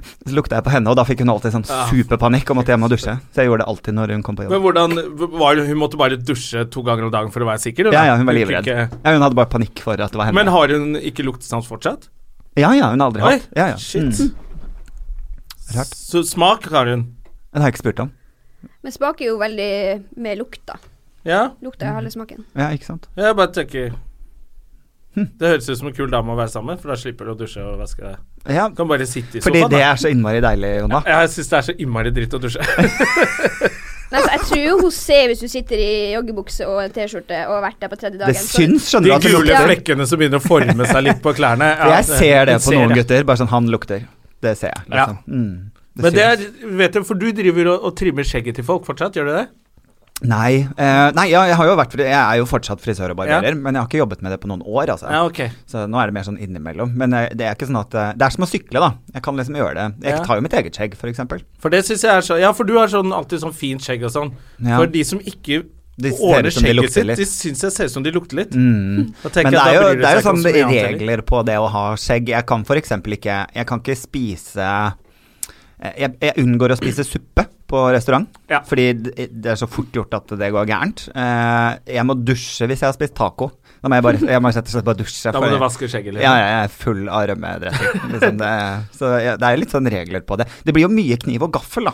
[SPEAKER 2] Så lukta jeg på henne, og da fikk hun alltid sånn
[SPEAKER 1] Ja.
[SPEAKER 2] superpanikk og måtte hjem og dusje. Så jeg gjorde det alltid når hun kom på
[SPEAKER 1] Men
[SPEAKER 2] jobb.
[SPEAKER 1] hvordan var, Hun måtte bare dusje to ganger om dagen for å være sikker? eller?
[SPEAKER 2] Ja, ja, hun var
[SPEAKER 1] Hun kunne
[SPEAKER 2] livredd.
[SPEAKER 1] ikke-
[SPEAKER 2] Ja, hun hadde bare panikk for at det var henne.
[SPEAKER 1] Men har hun ikke luktesans fortsatt?
[SPEAKER 2] ja, ja, hun har aldri
[SPEAKER 1] Oi,
[SPEAKER 2] hatt. Ja, ja.
[SPEAKER 1] shit.
[SPEAKER 2] Mm. Rart.
[SPEAKER 1] Så smak har hun.
[SPEAKER 2] Den har jeg ikke spurt om.
[SPEAKER 3] ned. Men smaker jo veldig med lukta.
[SPEAKER 1] Ja,
[SPEAKER 3] Lukta er halve smaken.
[SPEAKER 2] Ja, ikke sant?
[SPEAKER 1] jeg bare tenker
[SPEAKER 2] Hm.
[SPEAKER 1] Det høres ut som en kul dame å være sammen med, for da slipper du å dusje og vaske deg.
[SPEAKER 2] Ja,
[SPEAKER 1] Du kan bare sitte i
[SPEAKER 2] fordi
[SPEAKER 1] sofaen.
[SPEAKER 2] det
[SPEAKER 1] da.
[SPEAKER 2] er så innmari deilig, Jonna.
[SPEAKER 1] Jeg syns det er så innmari dritt å dusje.
[SPEAKER 3] Men altså, jeg tror jo hun ser hvis du sitter i joggebukse og en T-skjorte og har vært der på tredje dagen.
[SPEAKER 2] Det syns,
[SPEAKER 1] De
[SPEAKER 2] skjønner du. at det
[SPEAKER 1] gule
[SPEAKER 2] lukter.
[SPEAKER 1] flekkene som begynner å forme seg litt på klærne.
[SPEAKER 2] For jeg ser det på noen
[SPEAKER 1] gutter
[SPEAKER 2] gutter. Bare sånn, han lukter. Det ser jeg.
[SPEAKER 1] Ja.
[SPEAKER 2] Liksom. Mm, det
[SPEAKER 1] Men det
[SPEAKER 2] ser jeg.
[SPEAKER 1] er, vet du, for du driver og, og trimmer skjegget til folk fortsatt, gjør du det?
[SPEAKER 2] Nei, eh, nei ja, jeg, har jo vært, fri- jeg er jo fortsatt frisør og barberer,
[SPEAKER 1] Ja.
[SPEAKER 2] men jeg har ikke jobbet med det på noen år. Altså.
[SPEAKER 1] Ja, ok.
[SPEAKER 2] Så nå er det mer sånn innimellom. Men eh, det er ikke sånn at eh, Det er som å sykle, da. Jeg kan liksom gjøre det. Jeg
[SPEAKER 1] Ja.
[SPEAKER 2] tar jo mitt eget skjegg, f.eks.
[SPEAKER 1] For det synes jeg er så Ja, for du har sånn, alltid sånn fint skjegg og sånn.
[SPEAKER 2] Ja.
[SPEAKER 1] For de som ikke
[SPEAKER 2] De ser
[SPEAKER 1] ordner
[SPEAKER 2] ut som de
[SPEAKER 1] skjegget
[SPEAKER 2] lukter
[SPEAKER 1] sitt,
[SPEAKER 2] litt.
[SPEAKER 1] de syns jeg ser ut som de lukter litt.
[SPEAKER 2] Mm.
[SPEAKER 1] Da tenker jeg,
[SPEAKER 2] Men det er
[SPEAKER 1] da
[SPEAKER 2] jo,
[SPEAKER 1] bryr de
[SPEAKER 2] det er jo
[SPEAKER 1] seg ikke om
[SPEAKER 2] sånn
[SPEAKER 1] så mye annet heller.
[SPEAKER 2] regler på det å ha skjegg. Jeg kan f.eks. ikke Jeg kan ikke spise eh, jeg, jeg unngår å spise suppe på restaurant,
[SPEAKER 1] Ja.
[SPEAKER 2] fordi d- det er så fort gjort at det går gærent. Eh, jeg må dusje hvis jeg har spist taco. Da må jeg, bare, jeg må rett og slett bare dusje.
[SPEAKER 1] Da
[SPEAKER 2] for
[SPEAKER 1] må du
[SPEAKER 2] jeg-
[SPEAKER 1] vaske skjegget litt.
[SPEAKER 2] Ja, ja, jeg er full av rømmedressing. Liksom det, så ja, det er litt sånn regler på det. Det blir jo mye kniv og gaffel, da.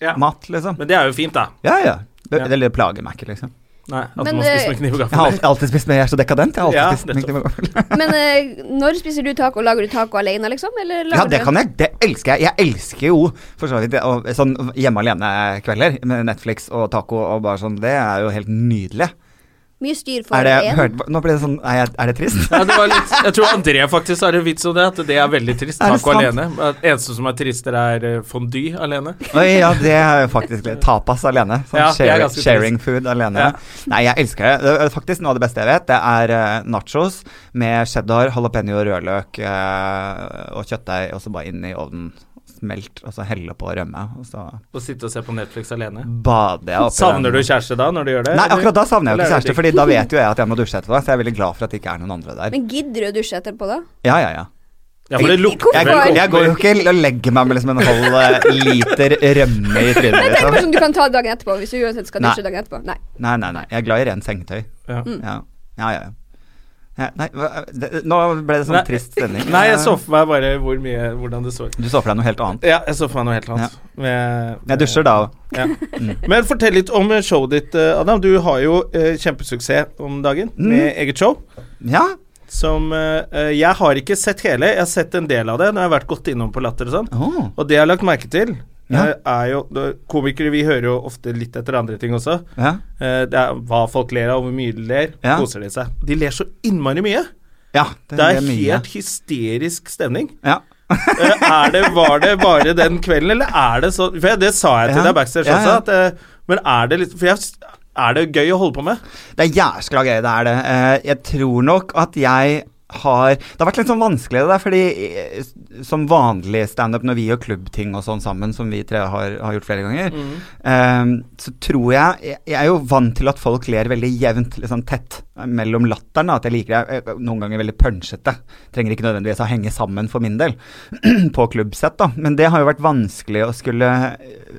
[SPEAKER 1] Ja.
[SPEAKER 2] Mat, liksom.
[SPEAKER 1] Men det er jo fint, da.
[SPEAKER 2] Ja, ja. Det,
[SPEAKER 1] Ja.
[SPEAKER 2] det plager meg ikke, liksom.
[SPEAKER 1] Nei, at
[SPEAKER 3] Men,
[SPEAKER 1] man spiser
[SPEAKER 3] eh,
[SPEAKER 1] med kniv og
[SPEAKER 2] Jeg har
[SPEAKER 1] gaffel.
[SPEAKER 2] alltid, alltid spist med Jeg er så dekadent. Jeg har alltid
[SPEAKER 1] Ja,
[SPEAKER 2] spist med
[SPEAKER 1] nettopp.
[SPEAKER 2] kniv og gaffel.
[SPEAKER 3] Men eh, når spiser du taco? Lager du taco alene, liksom? Eller
[SPEAKER 2] Ja,
[SPEAKER 3] lager
[SPEAKER 2] det kan jeg. Det elsker jeg. Jeg elsker jo for så vidt og, sånn hjemme alene-kvelder med Netflix og taco og bare sånn. Det er jo helt nydelig.
[SPEAKER 3] du mye styr for
[SPEAKER 2] Er det,
[SPEAKER 3] én?
[SPEAKER 2] hørt, nå ble det sånn Er, jeg, er det trist?
[SPEAKER 1] Ja, det var litt, jeg tror André faktisk har en vits om det, at det er veldig trist.
[SPEAKER 2] Er det
[SPEAKER 1] Taco
[SPEAKER 2] sant?
[SPEAKER 1] alene. Det eneste som er tristere, er eh, fondue alene.
[SPEAKER 2] Oi, ja, det er jo faktisk litt Tapas alene. Sånn
[SPEAKER 1] Ja, det er
[SPEAKER 2] sharing,
[SPEAKER 1] ganske trist.
[SPEAKER 2] sharing food alene.
[SPEAKER 1] Ja.
[SPEAKER 2] Nei, jeg elsker det. det. er Faktisk noe av det beste jeg vet, det er eh, nachos med cheddar, jalapeño, rødløk eh, og kjøttdeig, og så bare inn i ovnen. Smelt, og så helle på rømme, og så
[SPEAKER 1] Å sitte og se på Netflix alene.
[SPEAKER 2] bader jeg oppi
[SPEAKER 1] Savner du
[SPEAKER 2] den.
[SPEAKER 1] kjæreste da, når du gjør det?
[SPEAKER 2] Nei,
[SPEAKER 1] eller?
[SPEAKER 2] akkurat da savner jeg jo
[SPEAKER 1] Eh, Eller
[SPEAKER 2] ikke
[SPEAKER 1] er det
[SPEAKER 2] kjæreste, Fordi da vet jo jeg at jeg må dusje etterpå. Så jeg er veldig glad for at det ikke er noen andre der.
[SPEAKER 3] Men gidder du å dusje etterpå, da?
[SPEAKER 2] Ja, ja, ja.
[SPEAKER 1] Ja, for det lukter
[SPEAKER 2] Jeg,
[SPEAKER 1] vel
[SPEAKER 3] Hvorfor?
[SPEAKER 2] går- jeg går jo ikke og legger meg med liksom en halv eh, liter rømme i trynet.
[SPEAKER 3] Det er bare
[SPEAKER 2] Liksom.
[SPEAKER 3] sånn du kan ta dagen etterpå, hvis du uansett skal
[SPEAKER 2] Nei.
[SPEAKER 3] dusje dagen etterpå. Nei.
[SPEAKER 2] Nei, nei, nei. Jeg er glad i rent sengetøy.
[SPEAKER 1] Ja.
[SPEAKER 2] Ja, ja, ja. ja nei, hva- det, nå ble det sånn
[SPEAKER 1] Nei.
[SPEAKER 2] trist stemning. Eh,
[SPEAKER 1] Nei, jeg så for meg bare hvor mye, hvordan det så ut.
[SPEAKER 2] Du så for deg noe helt annet.
[SPEAKER 1] Ja, jeg så for meg noe helt annet. Med-
[SPEAKER 2] Jeg dusjer da òg.
[SPEAKER 1] Ja. Men fortell litt om showet ditt, eh, Adam. Du har jo eh, kjempesuksess om dagen
[SPEAKER 2] Mm.
[SPEAKER 1] med eget show.
[SPEAKER 2] Ja.
[SPEAKER 1] Som eh, eh, Jeg har ikke sett hele, jeg har sett en del av det. Når jeg har vært gått innom på Latter og sånn.
[SPEAKER 2] Åh.
[SPEAKER 1] Og det jeg har lagt merke til,
[SPEAKER 2] Ja.
[SPEAKER 1] eh, er jo da- Komikere, vi hører jo ofte litt etter andre ting også.
[SPEAKER 2] ja.
[SPEAKER 1] Eh, det er hva folk ler av, hvor mye de ler.
[SPEAKER 2] Ja.
[SPEAKER 1] Koser de seg? De ler så innmari mye.
[SPEAKER 2] Ja,
[SPEAKER 1] Det er
[SPEAKER 2] mye.
[SPEAKER 1] helt hysterisk stemning.
[SPEAKER 2] ja.
[SPEAKER 1] Eh, er det, var det bare den kvelden, eller er det sånn For jeg- det sa jeg til
[SPEAKER 2] Ja.
[SPEAKER 1] deg backstage
[SPEAKER 2] Ja, ja.
[SPEAKER 1] også, at, eh, men er det litt For jeg, s- er det gøy å holde på med?
[SPEAKER 2] Det er jæskla gøy, det er det. Eh, Jeg tror nok at jeg har Det har vært litt sånn vanskelig det der, fordi eh, s- som vanlig standup når vi gjør klubbting og sånn sammen, som vi tre har, har gjort flere ganger, eh, så tror jeg jeg- Jeg er jo vant til at folk ler veldig jevnt, liksom tett eh, mellom latteren. da, At jeg liker det eh, noen ganger veldig punchete. Trenger ikke nødvendigvis å henge sammen for min del på klubbsett, da. Men det har jo vært vanskelig å skulle eh,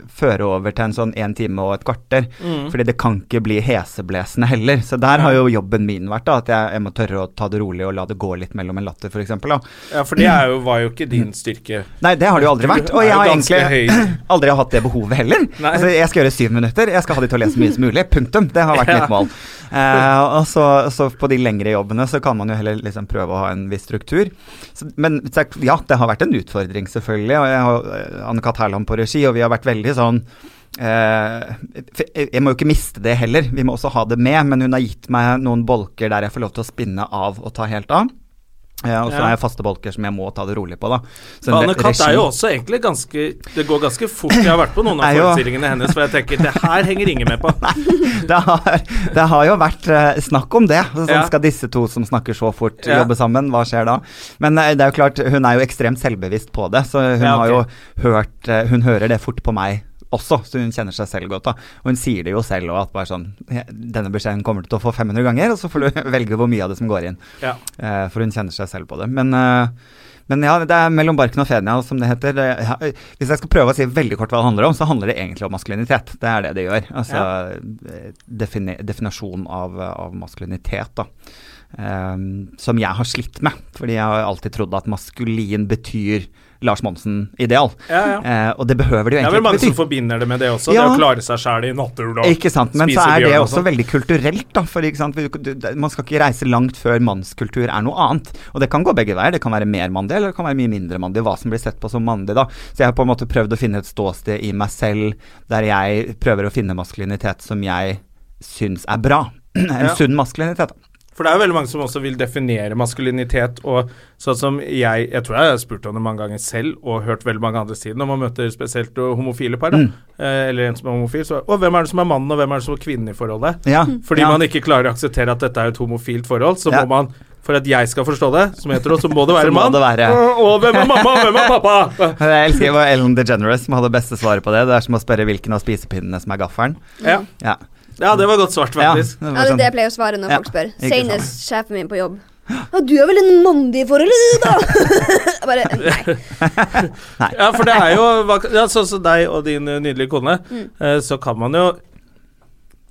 [SPEAKER 2] føre over til en sånn én time og et kvarter. Fordi det kan ikke bli heseblesende heller. Så der har jo jobben min vært, da. At jeg, jeg må tørre å ta det rolig og la det gå litt mellom en latter, f.eks. da.
[SPEAKER 1] Ja, for det er jo, var jo ikke
[SPEAKER 2] Mm.
[SPEAKER 1] din styrke.
[SPEAKER 2] Nei, det har det jo aldri vært.
[SPEAKER 1] Du
[SPEAKER 2] Og
[SPEAKER 1] er
[SPEAKER 2] jeg
[SPEAKER 1] jo
[SPEAKER 2] har
[SPEAKER 1] ganske
[SPEAKER 2] egentlig aldri hatt det behovet heller.
[SPEAKER 1] Nei.
[SPEAKER 2] Altså, jeg skal gjøre syv minutter, jeg skal ha de til å le så mye som mulig. Punktum. Det har vært mitt mål. Eh, og så, så på de lengre jobbene så kan man jo heller liksom prøve å ha en viss struktur. Så, men så, eh, ja, det har vært en utfordring, selvfølgelig. Og jeg har Anne Kat. Hærland på regi, og vi har vært veldig sånn eh, for jeg jeg må jo ikke miste det heller, vi må også ha det med, men hun har gitt meg noen bolker der jeg får lov til å spinne av og ta helt av. Eh, og så
[SPEAKER 1] Ja.
[SPEAKER 2] har jeg faste bolker som jeg må ta det rolig på, da. Så en re-
[SPEAKER 1] Anne Katt er jo
[SPEAKER 2] regi-
[SPEAKER 1] også egentlig ganske Det går ganske fort. Jeg har vært på noen av
[SPEAKER 2] Er jo-
[SPEAKER 1] forestillingene hennes, for jeg tenker det her henger ingen med på.
[SPEAKER 2] det har, det har jo vært eh, snakk om det. Sånn,
[SPEAKER 1] Ja.
[SPEAKER 2] Skal disse to som snakker så fort,
[SPEAKER 1] Ja.
[SPEAKER 2] jobbe sammen? Hva skjer da? Men eh, det er jo klart, hun er jo ekstremt selvbevisst på det, så hun
[SPEAKER 1] Ja, ok.
[SPEAKER 2] har jo hørt eh, Hun hører det fort på meg også, så hun kjenner seg selv godt. da. Og hun sier det jo selv òg, at bare sånn «Jeg- Denne beskjeden kommer du til å få 500 ganger, og så får du velge hvor mye av det som går inn.
[SPEAKER 1] Ja.
[SPEAKER 2] Eh, for hun kjenner seg selv på det. Men, eh, men ja, det er mellom barken og fenia, som det heter. Det, ja, eh, hvis jeg skal prøve å si veldig kort hva det handler om, så handler det egentlig om maskulinitet. Det er det det gjør. Altså eh, defini definasjon av, eh, av maskulinitet, da. Eh, som jeg har slitt med, fordi jeg har alltid trodd at maskulin betyr Lars Monsen-ideal.
[SPEAKER 1] Ja, ja.
[SPEAKER 2] Eh, og det behøver det jo
[SPEAKER 1] Det er
[SPEAKER 2] egentlig
[SPEAKER 1] vel mange
[SPEAKER 2] ikke
[SPEAKER 1] som
[SPEAKER 2] bety.
[SPEAKER 1] forbinder det med det også.
[SPEAKER 2] Ja.
[SPEAKER 1] Det å klare seg sjæl i natthull og
[SPEAKER 2] Ikke sant, men så
[SPEAKER 1] spise
[SPEAKER 2] er det
[SPEAKER 1] bjørn og
[SPEAKER 2] også
[SPEAKER 1] sånn.
[SPEAKER 2] veldig kulturelt, da. For ikke sant? du- du- man skal ikke reise langt før mannskultur er noe annet. Og det kan gå begge veier. Det kan være mer mandig, eller det kan være mye mindre mandig. Hva som blir sett på som mandig, da. Så jeg har på en måte prøvd å finne et ståsted i meg selv der jeg prøver å finne maskulinitet som jeg syns er bra. En
[SPEAKER 1] Ja.
[SPEAKER 2] sunn maskulinitet, da.
[SPEAKER 1] For det er jo veldig mange som også vil definere maskulinitet, og sånn som jeg Jeg tror jeg har spurt om det mange ganger selv, og hørt veldig mange andre si det når man møter spesielt eh, homofile par, da,
[SPEAKER 2] Mm.
[SPEAKER 1] eh, eller en som er homofil, så Og hvem er det som er mannen, og hvem er det som er kvinnen i forholdet?
[SPEAKER 2] Ja.
[SPEAKER 1] Fordi
[SPEAKER 2] ja.
[SPEAKER 1] man ikke klarer å akseptere at dette er et homofilt forhold, så
[SPEAKER 2] Ja.
[SPEAKER 1] må man for at jeg skal forstå det, som hetero, så må det
[SPEAKER 2] Så
[SPEAKER 1] være mann.
[SPEAKER 2] må det være.
[SPEAKER 1] Og- Og hvem er mamma, og hvem er pappa?
[SPEAKER 2] Jeg elsker det var Ellen DeGeneres som hadde beste svaret på det. Det er som å spørre hvilken av spisepinnene som er gaffelen.
[SPEAKER 1] Ja,
[SPEAKER 2] Ja.
[SPEAKER 1] ja det var godt svart,
[SPEAKER 2] Ja,
[SPEAKER 1] faktisk.
[SPEAKER 2] det var
[SPEAKER 3] Ja, det er
[SPEAKER 2] sånn.
[SPEAKER 3] det jeg pleier å svare når
[SPEAKER 2] Ja,
[SPEAKER 3] folk spør.
[SPEAKER 2] ikke
[SPEAKER 3] Senest sjefen min på jobb. Ja, du er vel en mann i forholdet, du, da? Jeg bare Nei.
[SPEAKER 1] Ja, for det er jo hva- ja, Sånn som deg og din eh, nydelige kone, eh, så kan man jo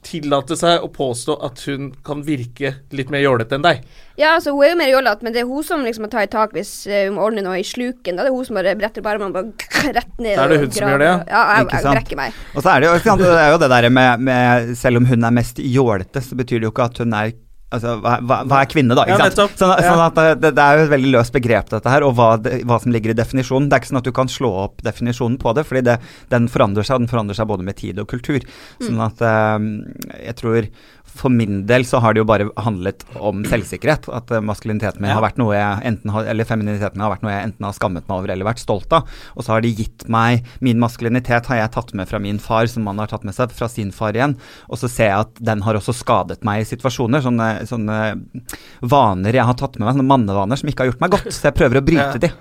[SPEAKER 1] tillate seg å påstå at hun kan virke litt mer jålete enn deg.
[SPEAKER 3] Ja, altså, hun er jo mer jollete, men det er hun som liksom må ta i tak hvis eh, hun må ordne noe i sluken. Da det er hun som bare bretter opp armene og bare rett ned.
[SPEAKER 1] Da er det
[SPEAKER 3] og
[SPEAKER 1] hun som
[SPEAKER 3] graver.
[SPEAKER 1] gjør det,
[SPEAKER 3] ja? jeg,
[SPEAKER 2] Ikke
[SPEAKER 3] jeg,
[SPEAKER 2] sant?
[SPEAKER 3] brekker meg.
[SPEAKER 2] Og så er det jo, ikke sant, det er jo det der med, med Selv om hun er mest jålete, så betyr det jo ikke at hun er Altså, hva, hva hva er kvinne, da?
[SPEAKER 1] Ja,
[SPEAKER 2] Ikke sant?
[SPEAKER 1] nettopp.
[SPEAKER 2] Sånn,
[SPEAKER 1] Ja.
[SPEAKER 2] sånn at det, det er jo et veldig løst begrep, dette her, og hva, det, hva som ligger i definisjonen. Det er ikke sånn at du kan slå opp definisjonen på det, fordi det, den forandrer seg. og Den forandrer seg både med tid og kultur. Sånn at eh, jeg tror For min del så har det jo bare handlet om selvsikkerhet. At eh, maskuliniteten min
[SPEAKER 1] Ja.
[SPEAKER 2] har vært noe jeg enten har, eller femininiteten min har vært noe jeg enten har skammet meg over eller vært stolt av. Og så har de gitt meg Min maskulinitet har jeg tatt med fra min far, som han har tatt med seg fra sin far igjen. Og så ser jeg at den har også skadet meg i situasjoner. Sånne, sånne vaner jeg har tatt med meg, sånne mannevaner som ikke har gjort meg godt. Så jeg prøver å bryte
[SPEAKER 1] Ja.
[SPEAKER 2] de.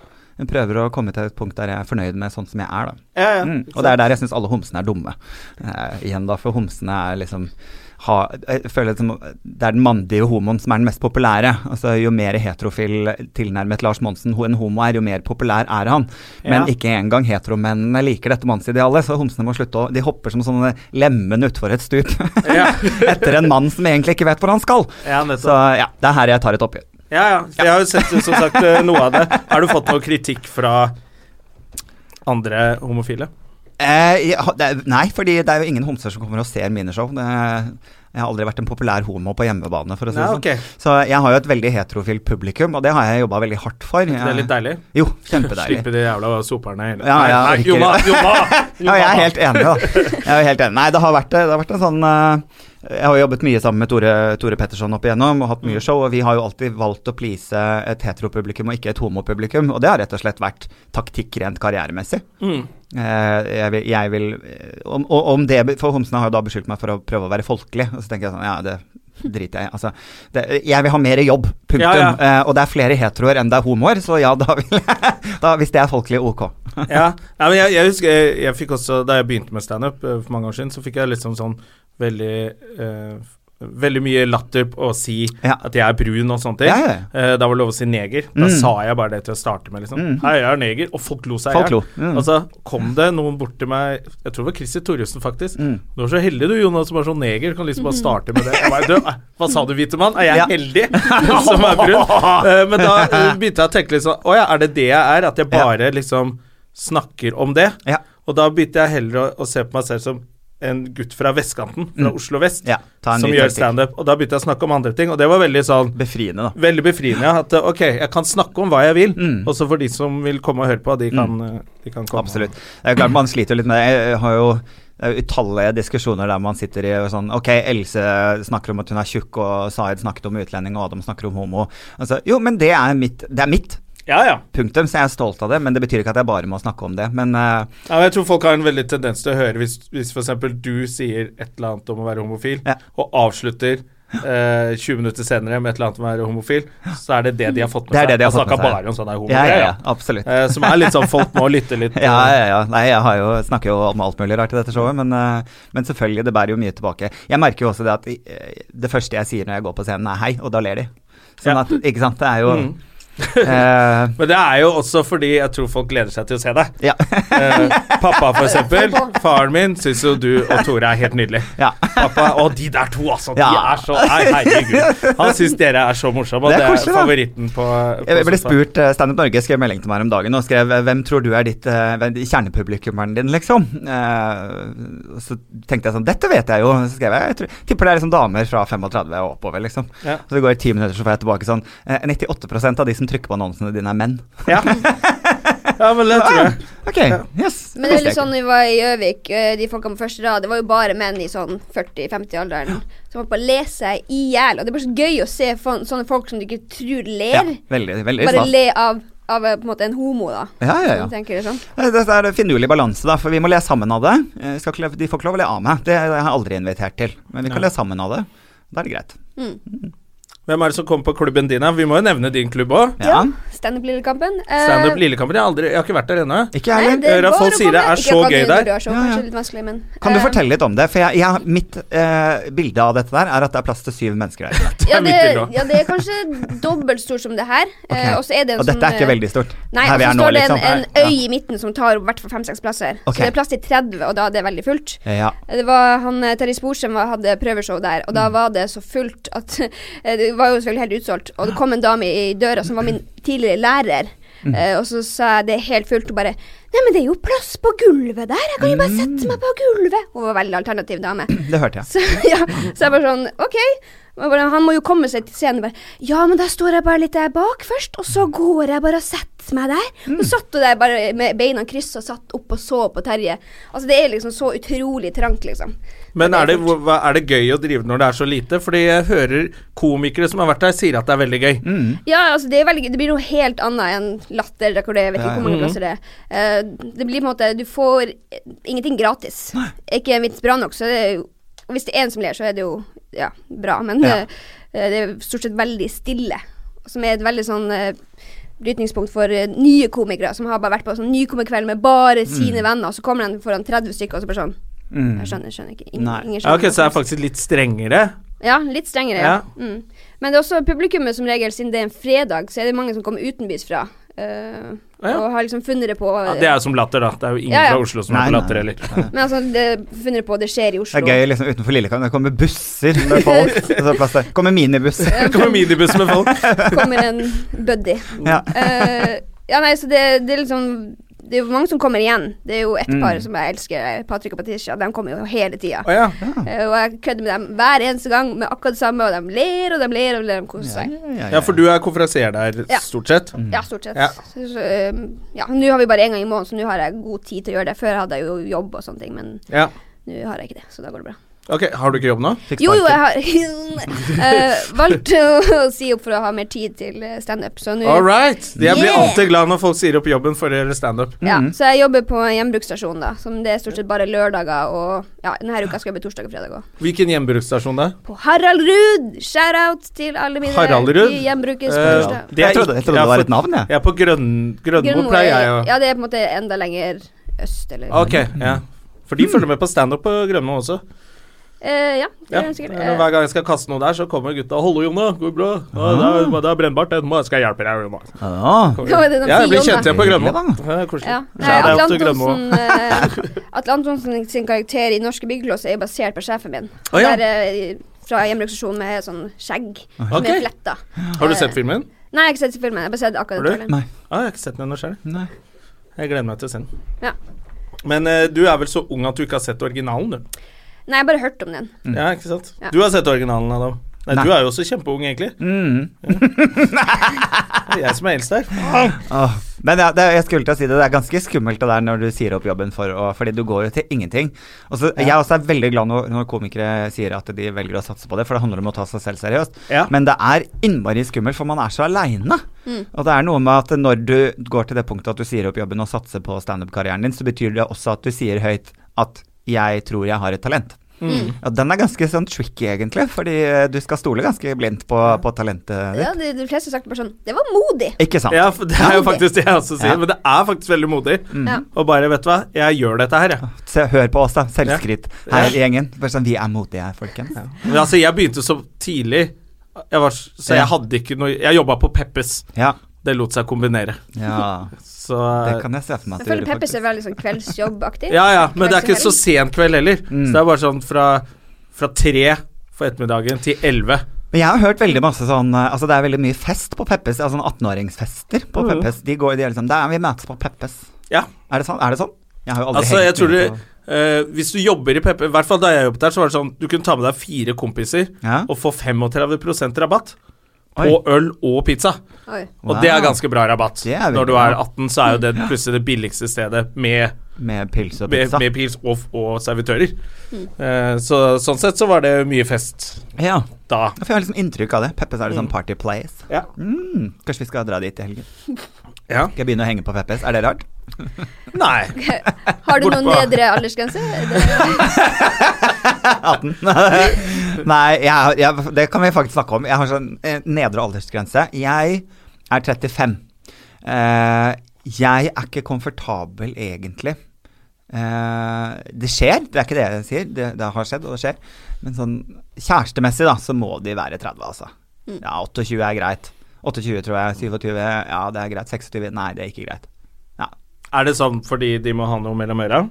[SPEAKER 2] Jeg prøver å komme til et punkt der jeg er fornøyd med sånn som jeg er, da.
[SPEAKER 1] Ja, ja.
[SPEAKER 2] Mm. Og det er der jeg syns alle homsene er dumme. Eh, igjen da, for homsene er liksom ha, jeg føler det, som, det er den mandige homoen som er den mest populære. Altså, jo mer heterofil tilnærmet Lars Monsen ho- en homo er, jo mer populær er han. Men
[SPEAKER 1] Ja.
[SPEAKER 2] ikke engang heteromennene liker dette mannsidealet, så homsene må slutte å De hopper som sånne lemen utfor et stup
[SPEAKER 1] Ja.
[SPEAKER 2] etter en mann som egentlig ikke vet hvor han skal.
[SPEAKER 1] Ja, nettopp.
[SPEAKER 2] Så ja, det er her jeg tar et oppgjør.
[SPEAKER 1] Ja, ja. Jeg har jo sett som sagt eh, noe av det. Har du fått noe kritikk fra andre homofile?
[SPEAKER 2] Eh, jeg har- det er, nei, fordi det er jo ingen homser som kommer og ser mine show. Det, jeg har aldri vært en populær homo på hjemmebane, for å si det
[SPEAKER 1] Nei,
[SPEAKER 2] sånn.
[SPEAKER 1] ok.
[SPEAKER 2] Så jeg har jo et veldig heterofilt publikum, og det har jeg jobba veldig hardt for.
[SPEAKER 1] Det er litt deilig.
[SPEAKER 2] Jo,
[SPEAKER 1] Slippe
[SPEAKER 2] kjempedeilig.
[SPEAKER 1] de jævla soperne hele
[SPEAKER 2] Ja, ja,
[SPEAKER 1] Nei, nei,
[SPEAKER 2] ikke-
[SPEAKER 1] Jonna, Jonna!
[SPEAKER 2] Ja, jeg
[SPEAKER 1] Jonna.
[SPEAKER 2] er helt enig, da. Jeg er helt enig. Nei, det har vært, det har vært en sånn eh, Jeg har jo jobbet mye sammen med Tore, Tore Petterson opp igjennom og hatt mye
[SPEAKER 1] Mm.
[SPEAKER 2] show, og vi har jo alltid valgt å please et heteropublikum og ikke et homopublikum, og det har rett og slett vært taktikk rent karrieremessig.
[SPEAKER 1] Mm.
[SPEAKER 2] Eh, jeg vil, jeg vil eh, om, og- om det, For Homsene har jo da beskyldt meg for å prøve å være folkelig. Og så tenker jeg sånn Ja, det driter jeg i. Altså, det, jeg vil ha mer jobb, punktum.
[SPEAKER 1] Ja, ja.
[SPEAKER 2] Eh, og det er flere heteroer enn det er homoer, så ja, da vil jeg da, Hvis det er folkelig, ok.
[SPEAKER 1] ja. Nei, men jeg, jeg husker jeg, jeg fikk også, Da jeg begynte med standup eh, for mange år siden, så fikk jeg liksom sånn veldig eh, Veldig mye latter på å si
[SPEAKER 2] Ja.
[SPEAKER 1] at jeg er brun og sånne ting.
[SPEAKER 2] Ja, ja,
[SPEAKER 1] Eh, da var det lov å si neger. Da
[SPEAKER 2] Mm.
[SPEAKER 1] sa jeg bare det til å starte med, liksom.
[SPEAKER 2] Mm.
[SPEAKER 1] Hei, jeg er neger. Og folk lo seg i
[SPEAKER 2] Folk
[SPEAKER 1] hjel.
[SPEAKER 2] lo. Mm.
[SPEAKER 1] Og så Altså, kom det noen bort til meg Jeg tror det var Christer Thoresen, faktisk.
[SPEAKER 2] Mm.
[SPEAKER 1] Du var så heldig du, Jonas, som var sånn neger. Du Kan liksom bare starte med det. Jeg bare, du, eh, hva sa du, hvite mann? Er jeg
[SPEAKER 2] Ja.
[SPEAKER 1] heldig som er brun? Eh, men da eh, begynte jeg å tenke litt sånn Å ja, er det det jeg er? At jeg bare liksom snakker om det?
[SPEAKER 2] Ja.
[SPEAKER 1] Og da begynte jeg heller å, å se på meg selv som en gutt fra vestkanten, fra Oslo vest,
[SPEAKER 2] Mm. Ja, ta en
[SPEAKER 1] som
[SPEAKER 2] ny
[SPEAKER 1] gjør
[SPEAKER 2] taktikk.
[SPEAKER 1] standup. Og da begynte jeg å snakke om andre ting, og det var veldig sånn
[SPEAKER 2] Befriende, da.
[SPEAKER 1] Veldig befriende at eh, ok, jeg kan snakke om hva jeg vil,
[SPEAKER 2] Mm.
[SPEAKER 1] også for de som vil komme og høre på, de kan, eh, de kan komme.
[SPEAKER 2] Absolutt. Det er klart Man sliter jo litt med det. Jeg har jo det er jo utallige diskusjoner der man sitter i og sånn Ok, Else snakker om at hun er tjukk, og Zaid snakket om utlending, og Adam snakker om homo. Altså, jo, men det er mitt. Det er mitt.
[SPEAKER 1] Ja, ja.
[SPEAKER 2] Punktum. Så jeg er stolt av det, men det betyr ikke at jeg bare må snakke om det. Men eh,
[SPEAKER 1] Ja, men jeg tror folk har en veldig tendens til å høre hvis, hvis for eksempel du sier et eller annet om å være homofil,
[SPEAKER 2] Ja.
[SPEAKER 1] og avslutter eh, 20 minutter senere med et eller annet om å være homofil, så er det det de har fått med
[SPEAKER 2] Det er det de har
[SPEAKER 1] seg.
[SPEAKER 2] fått med
[SPEAKER 1] snakker
[SPEAKER 2] seg.
[SPEAKER 1] bare om sånn er homo.
[SPEAKER 2] ja, ja, ja,
[SPEAKER 1] Ja, ja.
[SPEAKER 2] absolutt.
[SPEAKER 1] Eh, som er litt sånn folk må lytte litt.
[SPEAKER 2] Ja, ja, ja. Nei, jeg har jo, snakker jo om alt mulig rart i dette showet, men, eh, men selvfølgelig, det bærer jo mye tilbake. Jeg merker jo også det at eh, det første jeg sier når jeg går på scenen, er hei, og da ler de. Sånn
[SPEAKER 1] Ja.
[SPEAKER 2] at, ikke sant, det er jo
[SPEAKER 1] Mm.
[SPEAKER 2] eh,
[SPEAKER 1] Men det er jo også fordi jeg tror folk gleder seg til å se deg.
[SPEAKER 2] Ja.
[SPEAKER 1] Eh, pappa, for eksempel. Faren min syns jo du og Tore er helt nydelig.
[SPEAKER 2] Ja.
[SPEAKER 1] Pappa, Å, de der to, altså. De
[SPEAKER 2] Ja.
[SPEAKER 1] er så Nei, herregud. Han syns dere er så morsomme, og
[SPEAKER 2] Det
[SPEAKER 1] det
[SPEAKER 2] er
[SPEAKER 1] er,
[SPEAKER 2] koselig, da.
[SPEAKER 1] favoritten på, på
[SPEAKER 2] Jeg ble
[SPEAKER 1] Sofa.
[SPEAKER 2] spurt, eh, Stand Up Norge skrev melding til meg om dagen og skrev eh, 'Hvem tror du er ditt eh, hvem- kjernepublikummeren din', liksom? Eh, så tenkte jeg sånn 'Dette vet jeg jo'. Så skrev jeg jeg tror, 'Tipper det er liksom damer fra 35 og oppover', liksom.
[SPEAKER 1] Ja.
[SPEAKER 2] Så det går ti minutter, så får jeg tilbake sånn eh, 98 av de som trykker på annonsene dine, er menn. Ah,
[SPEAKER 1] Ja. ja, men det tror jeg.
[SPEAKER 2] Ok, yes.
[SPEAKER 3] Men
[SPEAKER 2] visste
[SPEAKER 3] det er
[SPEAKER 2] jeg
[SPEAKER 3] litt sånn vi var i Gjøvik, eh, de folkene på første rad, det var jo bare menn i sånn 40-50-alderen som holdt på å le seg i hjel. Og det er bare så gøy å se fon- sånne folk som du ikke tror
[SPEAKER 2] ikke.
[SPEAKER 3] ler,
[SPEAKER 2] Ja, veldig, veldig sånn.
[SPEAKER 3] bare
[SPEAKER 2] stas.
[SPEAKER 3] le av, av eh, på en måte en homo, da.
[SPEAKER 2] Ja, ja, ja.
[SPEAKER 3] Som tenker det sånn.
[SPEAKER 2] Nei, Eh, Det er en finurlig balanse, da, for vi må le sammen av det. Eh, Skal ikke, le- de får ikke lov å le av meg, det har jeg aldri invitert til. Men vi kan
[SPEAKER 1] Nei.
[SPEAKER 2] le sammen av det. Da er det greit.
[SPEAKER 1] Hvem er det som kommer på klubben din? da? Vi må jo nevne din klubb òg.
[SPEAKER 3] Ja, standup Lillekampen. Eh,
[SPEAKER 1] Standup Lillekampen. Jeg, har aldri- jeg har ikke vært der ennå.
[SPEAKER 2] Ikke jeg
[SPEAKER 3] nei,
[SPEAKER 2] heller.
[SPEAKER 3] det
[SPEAKER 1] Hører at
[SPEAKER 3] går
[SPEAKER 1] folk
[SPEAKER 3] å
[SPEAKER 1] sier det
[SPEAKER 3] komme.
[SPEAKER 1] er
[SPEAKER 3] Ikke
[SPEAKER 1] så
[SPEAKER 3] akkurat
[SPEAKER 1] gøy
[SPEAKER 3] nå
[SPEAKER 1] der.
[SPEAKER 3] når du er så,
[SPEAKER 2] Ja, ja.
[SPEAKER 3] kanskje litt vanskelig, men
[SPEAKER 2] Kan du
[SPEAKER 3] eh,
[SPEAKER 2] fortelle litt om det? For jeg, jeg, mitt eh, bilde av dette der er at det er plass til syv mennesker her.
[SPEAKER 1] Det
[SPEAKER 3] ja
[SPEAKER 1] er
[SPEAKER 3] det,
[SPEAKER 1] mitt bilde også.
[SPEAKER 3] ja, det er kanskje dobbelt stort som det her. Eh,
[SPEAKER 2] Ok.
[SPEAKER 3] og så er det en
[SPEAKER 2] Og dette
[SPEAKER 3] sånn,
[SPEAKER 2] er ikke
[SPEAKER 3] eh,
[SPEAKER 2] veldig stort.
[SPEAKER 3] Nei,
[SPEAKER 2] her vi
[SPEAKER 3] og så
[SPEAKER 2] er nå,
[SPEAKER 3] står det en,
[SPEAKER 2] liksom.
[SPEAKER 3] en øy i midten som tar opp i hvert fall fem-seks plasser.
[SPEAKER 2] Ok.
[SPEAKER 3] Så det er plass til 30, og da er det veldig fullt.
[SPEAKER 2] Ja. ja.
[SPEAKER 3] Det var han eh, Terje Sporsem var- hadde prøveshow der, og da
[SPEAKER 2] Mm.
[SPEAKER 3] var det så fullt at eh, Det var jo selvfølgelig helt utsolgt, og det kom en dame i i døra som var min tidligere lærer,
[SPEAKER 2] Mm.
[SPEAKER 3] eh, og så sa jeg det er helt fullt, og bare Nei, men det er jo plass på gulvet der, jeg kan jo
[SPEAKER 2] Mm.
[SPEAKER 3] bare sette meg på gulvet. Hun var veldig alternativ dame.
[SPEAKER 2] Det hørte jeg.
[SPEAKER 3] Så, ja, så jeg bare sånn OK. Men bare, Han må jo komme seg til scenen. Bare, ja, men da står jeg bare litt der bak først, og så går jeg bare og setter meg der.
[SPEAKER 1] Mm.
[SPEAKER 3] Så satt hun der bare med beina kryssa og satt opp og så på Terje. Altså, det er liksom så utrolig trangt, liksom.
[SPEAKER 1] Men er det,
[SPEAKER 3] fort.
[SPEAKER 1] hvor- hva- er det gøy å drive når det er så lite? Fordi jeg hører komikere som har vært der, sier at det er veldig gøy.
[SPEAKER 2] Mm,
[SPEAKER 3] Ja, altså, det, er veldig, gøy. det blir noe helt annet enn latter. der hvor det- Jeg vet ikke hvor mange
[SPEAKER 1] Mm-hmm.
[SPEAKER 3] plasser det er. Eh, det blir på en måte Du får eh, ingenting gratis. Er ikke en vits bra nok, så det er jo og Hvis det er en som ler, så er det jo ja, bra, men
[SPEAKER 2] Ja.
[SPEAKER 3] eh, det er stort sett veldig stille. Som er et veldig sånn eh, brytningspunkt for eh, nye komikere, som har bare vært på sånn nykomerkveld med bare sine
[SPEAKER 1] Mm.
[SPEAKER 3] venner, og så kommer de foran 30 stykker, og så bare sånn Jeg skjønner, jeg skjønner ikke. Ingen,
[SPEAKER 2] Nei.
[SPEAKER 3] ingen
[SPEAKER 1] Ja,
[SPEAKER 3] skjønner
[SPEAKER 1] ok, Så det er faktisk litt strengere.
[SPEAKER 3] ja, litt strengere. Ja. Mm. Men det er også publikummet som regel, siden det er en fredag, så er det mange som kommer utenbys fra. eh,
[SPEAKER 1] Ah, ja.
[SPEAKER 3] Og har liksom funnet det på
[SPEAKER 1] Ja, det er jo som latter, da. Det er jo ingen
[SPEAKER 3] Ja, ja.
[SPEAKER 1] fra Oslo som
[SPEAKER 2] Nei,
[SPEAKER 1] er på
[SPEAKER 2] nei.
[SPEAKER 1] latter heller.
[SPEAKER 3] Men altså, det, funnet det på, det skjer i Oslo.
[SPEAKER 2] Det er gøy liksom utenfor Lillekamp. Det kommer busser med folk. og så er det plass til- kommer minibusser.
[SPEAKER 1] Det kommer minibuss med folk.
[SPEAKER 3] Kommer en buddy.
[SPEAKER 2] Ja.
[SPEAKER 3] Eh, ja, nei, så det, det er liksom Det er jo mange som kommer igjen. Det er jo ett par som jeg elsker, eh, Patrick og Patricia. De kommer jo hele tida.
[SPEAKER 1] Mm. Å ja.
[SPEAKER 3] Eh, og jeg kødder med dem hver eneste gang med akkurat det samme, og de ler og de ler og de ler og koser seg.
[SPEAKER 1] ja, for du er konferansier der
[SPEAKER 3] Ja.
[SPEAKER 1] stort sett.
[SPEAKER 2] Mm.
[SPEAKER 3] Ja, stort sett.
[SPEAKER 1] Ja.
[SPEAKER 3] Så, så, um, ja, nå har vi bare én gang i måneden, så nå har jeg god tid til å gjøre det. Før hadde jeg jo jobb og sånne ting, men
[SPEAKER 1] Ja.
[SPEAKER 3] nå har jeg ikke det, så da går det bra.
[SPEAKER 1] Ok, Har du ikke jobb nå?
[SPEAKER 2] Fikk
[SPEAKER 3] Jo, jo, jeg
[SPEAKER 2] sparken.
[SPEAKER 3] har eh, valgt å, å si opp for å ha mer tid til eh, standup, så nå
[SPEAKER 1] All right! Jeg blir
[SPEAKER 3] Yeah!
[SPEAKER 1] alltid glad når folk sier opp jobben for å gjøre standup.
[SPEAKER 3] ja, Så jeg jobber på en hjemmebruksstasjon, da, som det er stort sett bare lørdager og Ja, denne uka skal jeg jobbe torsdag og fredag òg.
[SPEAKER 1] Hvilken hjemmebruksstasjon det er?
[SPEAKER 3] På Harald Ruud! Shout-out til alle mine
[SPEAKER 1] Harald Ruud?
[SPEAKER 3] i hjembrukes på
[SPEAKER 1] Eh,
[SPEAKER 3] torsdag.
[SPEAKER 1] det er
[SPEAKER 2] Jeg trodde- jeg
[SPEAKER 1] ikke-
[SPEAKER 2] trodde det
[SPEAKER 1] ja,
[SPEAKER 2] var
[SPEAKER 1] for-
[SPEAKER 2] et navn, jeg.
[SPEAKER 1] Ja, på Grønn, Grønmo
[SPEAKER 3] Grønmo
[SPEAKER 1] pleier jeg å
[SPEAKER 3] er- Ja, det er på en måte enda lenger øst, eller
[SPEAKER 1] Ok, ja. For de følger med på standup på Grønmo også.
[SPEAKER 3] Eh, Ja, det
[SPEAKER 1] Ja.
[SPEAKER 3] er sikkert.
[SPEAKER 1] Eller Hver gang jeg skal kaste noe der, så kommer gutta 'Hallo, Jonna. Går det bra?' Ja, det, er, 'Det er brennbart. Det må jeg skal hjelpe deg, Jonna'.
[SPEAKER 2] Ah,
[SPEAKER 3] Nå er det noen
[SPEAKER 1] Ja, jeg blir
[SPEAKER 3] sier om
[SPEAKER 1] kjent
[SPEAKER 3] det.
[SPEAKER 1] igjen på Grønmo.
[SPEAKER 2] Hyggelig,
[SPEAKER 1] Ja, det er koselig.
[SPEAKER 3] Ja. Nei,
[SPEAKER 1] Shout out
[SPEAKER 3] Atle
[SPEAKER 1] til Grønmo.
[SPEAKER 3] Antonsen, eh, Atle Antonsen sin karakter i Norske byggelås er basert på sjefen min.
[SPEAKER 1] Å, ja.
[SPEAKER 3] Der, eh, fra hjemmebruksstasjonen med sånn skjegg
[SPEAKER 1] Ok.
[SPEAKER 3] med fletter.
[SPEAKER 1] Har du sett filmen?
[SPEAKER 3] Nei, jeg har ikke sett filmen. Jeg har bare sett akkurat
[SPEAKER 1] Har du?
[SPEAKER 3] den.
[SPEAKER 2] Nei.
[SPEAKER 3] filmen.
[SPEAKER 1] Ja, jeg har ikke sett den ennå selv.
[SPEAKER 2] Nei.
[SPEAKER 1] Jeg gleder meg til å se den.
[SPEAKER 3] Ja.
[SPEAKER 1] Men eh, du er vel så ung at du ikke har sett originalen, du.
[SPEAKER 3] Nei, jeg har bare hørt om den.
[SPEAKER 1] Ja, ikke sant?
[SPEAKER 3] Ja.
[SPEAKER 1] Du har sett originalen, Adam. Nei,
[SPEAKER 2] Nei.
[SPEAKER 1] du er jo også kjempeung, egentlig.
[SPEAKER 2] Mm.
[SPEAKER 1] Det er jeg som er eldst her.
[SPEAKER 2] Åh, Men ja, det, jeg skulle til å si det, det er ganske skummelt det der når du sier opp jobben for å Fordi du går jo til ingenting. Og så, Jeg også er veldig glad når, når komikere sier at de velger å satse på det, for det handler om å ta seg selv seriøst.
[SPEAKER 1] Ja.
[SPEAKER 2] Men det er innmari skummelt, for man er så aleine. Og det er noe med at når du går til det punktet at du sier opp jobben og satser på standup-karrieren din, så betyr det også at du sier høyt at 'jeg tror jeg har et talent'. Ja, den er ganske sånn tricky, egentlig, fordi eh, du skal stole ganske blindt på, på talentet ditt.
[SPEAKER 3] Ja, de, de fleste har sagt bare sånn Det var modig.
[SPEAKER 2] Ikke sant?
[SPEAKER 1] Ja, for det er jo
[SPEAKER 3] Modig.
[SPEAKER 1] faktisk det jeg også sier,
[SPEAKER 2] Ja.
[SPEAKER 1] men det er faktisk veldig modig.
[SPEAKER 3] Ja.
[SPEAKER 1] Og bare, vet du hva, jeg gjør dette her, jeg.
[SPEAKER 2] Se, hør på oss, da. Selvskryt. Her i
[SPEAKER 1] Ja.
[SPEAKER 2] gjengen. Bare sånn, vi er modige her, folkens.
[SPEAKER 1] Men altså, jeg begynte så tidlig, jeg var, s- så
[SPEAKER 2] Ja.
[SPEAKER 1] jeg hadde ikke noe Jeg jobba på Peppes.
[SPEAKER 2] Ja.
[SPEAKER 1] Det lot seg kombinere.
[SPEAKER 2] ja.
[SPEAKER 1] Så
[SPEAKER 2] Det kan jeg se for meg at du
[SPEAKER 3] Selvfølgelig
[SPEAKER 2] gjorde,
[SPEAKER 3] Peppers er
[SPEAKER 2] faktisk.
[SPEAKER 3] veldig sånn kveldsjobbaktig.
[SPEAKER 1] Ja, ja, men det er ikke
[SPEAKER 3] Kvelds-
[SPEAKER 1] så sen kveld heller.
[SPEAKER 2] Mm.
[SPEAKER 1] Så det er bare sånn fra, fra tre for ettermiddagen til elleve.
[SPEAKER 2] Men jeg har hørt veldig masse sånn eh, Altså, det er veldig mye fest på Peppes. Altså sånn 18-åringsfester på
[SPEAKER 1] Mhm.
[SPEAKER 2] Peppes. De går de er liksom Der er vi møtes på Peppes.
[SPEAKER 1] Ja.
[SPEAKER 2] Er det sånn? Er det sånn? Jeg har jo aldri
[SPEAKER 1] Altså,
[SPEAKER 2] hengt
[SPEAKER 1] jeg tror
[SPEAKER 2] med
[SPEAKER 1] du-
[SPEAKER 2] på-
[SPEAKER 1] Eh, hvis du jobber i Peppe, i hvert fall da jeg jobbet der, så var det sånn du kunne ta med deg fire kompiser
[SPEAKER 2] Ja?
[SPEAKER 1] og få 35 rabatt på
[SPEAKER 2] Oi.
[SPEAKER 1] øl og pizza.
[SPEAKER 3] Oi.
[SPEAKER 1] Og det
[SPEAKER 2] Wow.
[SPEAKER 1] er ganske bra rabatt.
[SPEAKER 2] Det er veldig
[SPEAKER 1] Når du er
[SPEAKER 2] bra.
[SPEAKER 1] 18, så er jo det plutselig det billigste stedet med,
[SPEAKER 2] Med pils og
[SPEAKER 1] med,
[SPEAKER 2] pizza.
[SPEAKER 1] med pils og, og servitører. Eh, så sånn sett så var det mye fest
[SPEAKER 2] Ja.
[SPEAKER 1] da.
[SPEAKER 2] For jeg har liksom inntrykk av det. Peppes er
[SPEAKER 1] Mm.
[SPEAKER 2] liksom party place.
[SPEAKER 1] Ja.
[SPEAKER 2] Mm. Kanskje vi skal dra dit i helgen.
[SPEAKER 1] Ja.
[SPEAKER 2] Skal jeg begynne å henge på Peppes? Er det rart?
[SPEAKER 1] Nei.
[SPEAKER 3] Har du
[SPEAKER 1] Bort
[SPEAKER 3] noen
[SPEAKER 1] på-
[SPEAKER 3] nedre aldersgrense? Det-
[SPEAKER 2] 18. Nei, jeg, har- jeg, det kan vi faktisk snakke om. Jeg har sånn eh, nedre aldersgrense. Jeg er 35. Eh, jeg er ikke komfortabel, egentlig. Eh, det skjer, det er ikke det jeg sier. Det, det har skjedd, og det skjer. Men sånn kjærestemessig, da, så må de være 30, altså. Ja, 28 er greit. 28 tror jeg. 27, ja det er greit. 26, nei det er ikke greit. Ja,
[SPEAKER 1] Er det sånn fordi de må ha noe mellom øra?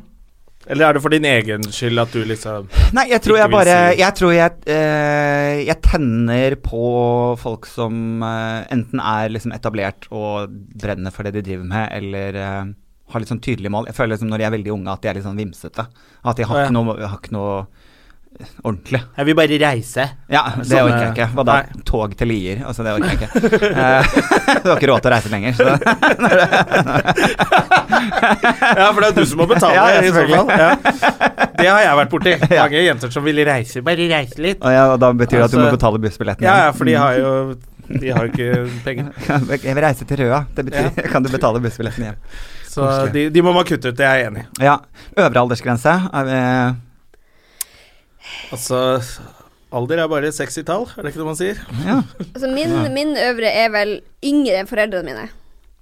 [SPEAKER 1] Eller er det for din egen skyld at du liksom
[SPEAKER 2] Nei, jeg tror
[SPEAKER 1] Ikke
[SPEAKER 2] jeg
[SPEAKER 1] vil
[SPEAKER 2] bare
[SPEAKER 1] si-
[SPEAKER 2] Jeg tror jeg eh, Jeg tenner på folk som eh, enten er liksom etablert og brenner for det de driver med, eller eh, har litt sånn tydelige mål. Jeg føler liksom når de er veldig unge at de er litt sånn vimsete. At de har
[SPEAKER 1] Å, ja.
[SPEAKER 2] ikke noe, har ikke noe ordentlig.
[SPEAKER 1] Jeg vil bare reise.
[SPEAKER 2] Ja, det
[SPEAKER 1] Sånn,
[SPEAKER 2] orker jeg ikke. Hva da?
[SPEAKER 1] nei.
[SPEAKER 2] Tog til Lier? Altså, det orker jeg ikke. Eh, Du har ikke råd til å reise lenger, så
[SPEAKER 1] Ja, for det er du som må betale.
[SPEAKER 2] Ja, ja,
[SPEAKER 1] i så fall.
[SPEAKER 2] selvfølgelig.
[SPEAKER 1] Ja. Det har jeg vært borti. Mange jenter som vil reise. Bare reise litt.
[SPEAKER 2] og, ja, og da betyr det at du må
[SPEAKER 1] Altså-
[SPEAKER 2] betale bussbilletten.
[SPEAKER 1] Ja, ja, for de har jo De har jo ikke penger.
[SPEAKER 2] Jeg vil reise til Røa. Det betyr Kan du betale bussbilletten hjem?
[SPEAKER 1] Så de, de må man kutte ut, det er jeg enig i.
[SPEAKER 2] Ja. Øvre aldersgrense. Er vi
[SPEAKER 1] Altså, alder er bare sexy tall, er det ikke det man sier?
[SPEAKER 2] Ja.
[SPEAKER 3] Altså min, min øvre er vel yngre enn foreldrene mine.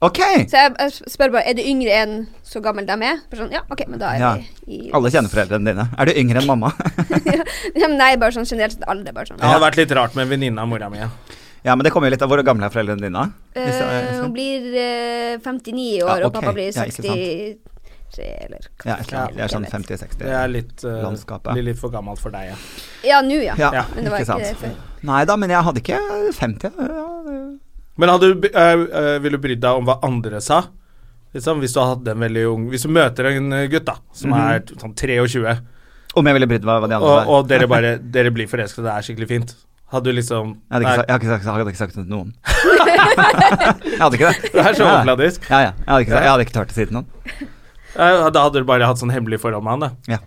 [SPEAKER 2] Ok!
[SPEAKER 3] Så jeg, jeg spør bare er du yngre enn så gammel de er. Bare sånn, ja, ok, men da er
[SPEAKER 2] Ja.
[SPEAKER 3] vi i
[SPEAKER 2] Alle kjenner foreldrene dine. Er du yngre enn mamma?
[SPEAKER 3] Ja, men Nei, bare sånn generelt sett alder. Bare sånn.
[SPEAKER 1] Det hadde vært litt rart med en venninne av mora mi. ja.
[SPEAKER 2] ja, men det kommer jo litt av hvor gamle er foreldrene dine? da? Hvis sånn. jeg-
[SPEAKER 3] Eh, hun blir eh, 59 i
[SPEAKER 2] Ja,
[SPEAKER 3] år, og
[SPEAKER 2] ok.
[SPEAKER 3] pappa blir
[SPEAKER 2] Ja, ikke sant.
[SPEAKER 3] 63 eller hva
[SPEAKER 2] ja, et eller annet.
[SPEAKER 3] faen
[SPEAKER 2] Det er
[SPEAKER 3] jeg
[SPEAKER 2] sånn
[SPEAKER 3] vet.
[SPEAKER 2] 50-60.
[SPEAKER 1] Det er litt, eh,
[SPEAKER 2] Landskapet.
[SPEAKER 1] blir litt for gammelt for deg, ja.
[SPEAKER 3] Ja, nå, ja.
[SPEAKER 2] Ja,
[SPEAKER 3] Men det var
[SPEAKER 2] ikke
[SPEAKER 3] ikke,
[SPEAKER 2] sant.
[SPEAKER 3] det
[SPEAKER 2] Mm.
[SPEAKER 3] før.
[SPEAKER 2] Nei da, men jeg hadde ikke 50. Ja, det-
[SPEAKER 1] Men hadde, du by- eh, eh, ville du brydd deg om hva andre sa? Liksom, hvis du hadde hatt en veldig ung Hvis du møter en eh, gutt da som
[SPEAKER 2] Mhm.
[SPEAKER 1] er t- sånn 23,
[SPEAKER 2] Om jeg ville brydd meg hva de andre
[SPEAKER 1] og,
[SPEAKER 2] var.
[SPEAKER 1] og dere bare dere blir forelsket, det er skikkelig fint Hadde du liksom
[SPEAKER 2] Jeg hadde ikke, sa- jeg hadde ikke, sagt- jeg hadde ikke sagt det til noen. jeg hadde ikke det.
[SPEAKER 1] Det er så
[SPEAKER 2] Ja.
[SPEAKER 1] overfladisk.
[SPEAKER 2] Ja, ja. Jeg hadde ikke, sa- jeg hadde ikke turt å si det til noen.
[SPEAKER 1] Eh, Da hadde du bare hatt sånn hemmelig forhold med han, da.
[SPEAKER 2] Ja.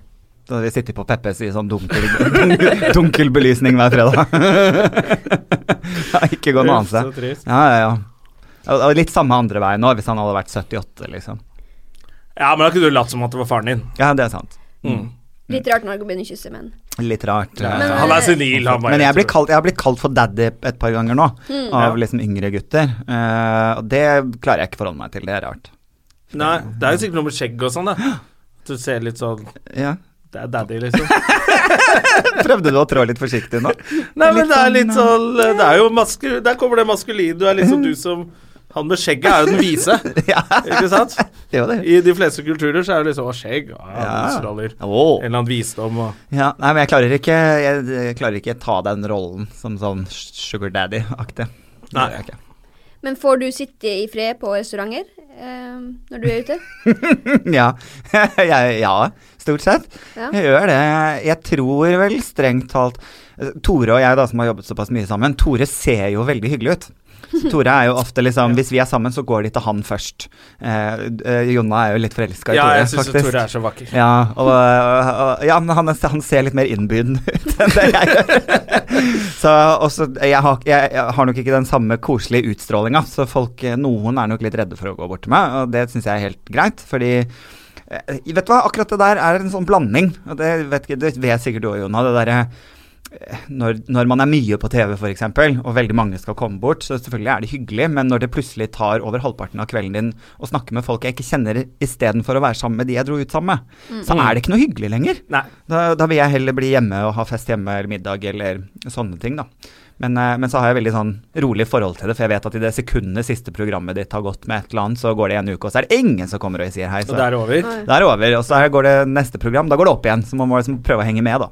[SPEAKER 2] Da hadde vi sittet på Peppes i sånn dunkel, dunkel, dunkel belysning hver fredag. ja, ikke gå noe annet sted.
[SPEAKER 1] Så trist.
[SPEAKER 2] Ja, ja, ja. Og- Og litt samme andre veien nå, hvis han hadde vært 78, liksom.
[SPEAKER 1] Ja, men da kunne du latt som at det var faren din.
[SPEAKER 2] Ja, det er sant.
[SPEAKER 1] Mm.
[SPEAKER 3] Litt rart når han begynner å kysse, men
[SPEAKER 2] Litt rart.
[SPEAKER 1] Ja,
[SPEAKER 2] eh,
[SPEAKER 3] Men-
[SPEAKER 1] han er senil, han bare.
[SPEAKER 2] men jeg blir kalt, jeg har blitt kalt for daddy et par ganger nå,
[SPEAKER 1] Ja.
[SPEAKER 2] av liksom yngre gutter. Eh, og det klarer jeg ikke å forholde meg til, det er rart.
[SPEAKER 1] Nei, det er jo sikkert noe med skjegg og sånn, da. At du ser litt sånn
[SPEAKER 2] Ja.
[SPEAKER 1] Det er daddy, liksom.
[SPEAKER 2] Prøvde du å trå litt forsiktig nå?
[SPEAKER 1] Nei, men
[SPEAKER 2] Litt
[SPEAKER 1] det er litt sånn
[SPEAKER 2] sånn,
[SPEAKER 1] Det er jo maskulin Der kommer det maskulin. Du er litt som du som Han med skjegget er jo den vise,
[SPEAKER 2] ja,
[SPEAKER 1] ikke sant?
[SPEAKER 2] det var det.
[SPEAKER 1] I de fleste kulturer så er det liksom Å, skjegg. Å, ja.
[SPEAKER 2] Ja.
[SPEAKER 1] stråler. En
[SPEAKER 2] Åh.
[SPEAKER 1] eller annen visdom og
[SPEAKER 2] Ja, nei, men jeg klarer ikke Jeg, jeg klarer ikke ta den rollen som sånn sugar daddy-aktig. Det
[SPEAKER 1] Nei.
[SPEAKER 2] gjør jeg ikke.
[SPEAKER 3] Men får du sitte i fred på restauranter eh, når du er ute?
[SPEAKER 2] Ja. jeg, ja, stort sett.
[SPEAKER 3] Ja.
[SPEAKER 2] Jeg gjør det. Jeg tror eh, vel strengt talt Tore og jeg, da, som har jobbet såpass mye sammen, Tore ser jo veldig hyggelig ut. Så Tore er jo ofte liksom Hvis vi er sammen, så går de til han først. Eh, d- eh, Jonna er jo litt forelska i
[SPEAKER 1] Ja,
[SPEAKER 2] Tore,
[SPEAKER 1] jeg syns
[SPEAKER 2] faktisk.
[SPEAKER 1] Tore er så vakker.
[SPEAKER 2] Ja, og, og, ja, men han, er- han ser litt mer innbydende ut enn det jeg gjør. Så også, jeg, har, jeg, jeg har nok ikke den samme koselige utstrålinga, så folk, eh, noen er nok litt redde for å gå bort til meg, og det syns jeg er helt greit, fordi eh, Vet du hva, akkurat det der er en sånn blanding, og det vet, ikke- det vet sikkert du òg, Jonna. Det derre eh, når, når man er mye på TV for eksempel, og veldig mange skal komme bort, så selvfølgelig er det hyggelig, men når det plutselig tar over halvparten av kvelden din å snakke med folk jeg ikke kjenner istedenfor å være sammen med de jeg dro ut sammen med, så er det ikke noe hyggelig lenger.
[SPEAKER 1] Nei.
[SPEAKER 2] Da, da vil jeg heller bli hjemme og ha fest hjemme eller middag eller sånne ting, da. Men, eh, men så har jeg veldig sånn rolig forhold til det, for jeg vet at i det sekundet siste programmet ditt har gått med et eller annet, så går det en uke, og så er det ingen som kommer og sier hei. Så
[SPEAKER 1] Og det er over.
[SPEAKER 3] Oi.
[SPEAKER 2] det er over, og så her går det neste program, da går det opp igjen, så man må liksom prøve å henge med, da.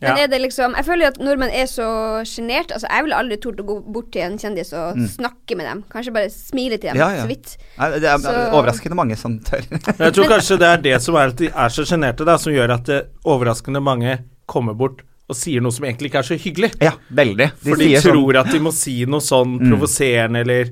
[SPEAKER 1] Ja.
[SPEAKER 3] Men er det liksom Jeg føler jo at nordmenn er så sjenert. Altså, jeg ville aldri tort å gå bort til en kjendis og snakke med dem. Kanskje bare smile til
[SPEAKER 2] Mm.
[SPEAKER 3] dem
[SPEAKER 2] Ja, ja.
[SPEAKER 3] så vidt.
[SPEAKER 2] Nei, Det er
[SPEAKER 3] Så-
[SPEAKER 2] overraskende mange som tør.
[SPEAKER 1] Men Jeg tror kanskje det er det som er at de er så sjenerte, da, som gjør at eh, overraskende mange kommer bort og sier noe som egentlig ikke er så hyggelig.
[SPEAKER 2] Ja, veldig. De
[SPEAKER 1] For de
[SPEAKER 2] sier sånn Mm.
[SPEAKER 1] tror at de må si noe sånn provoserende eller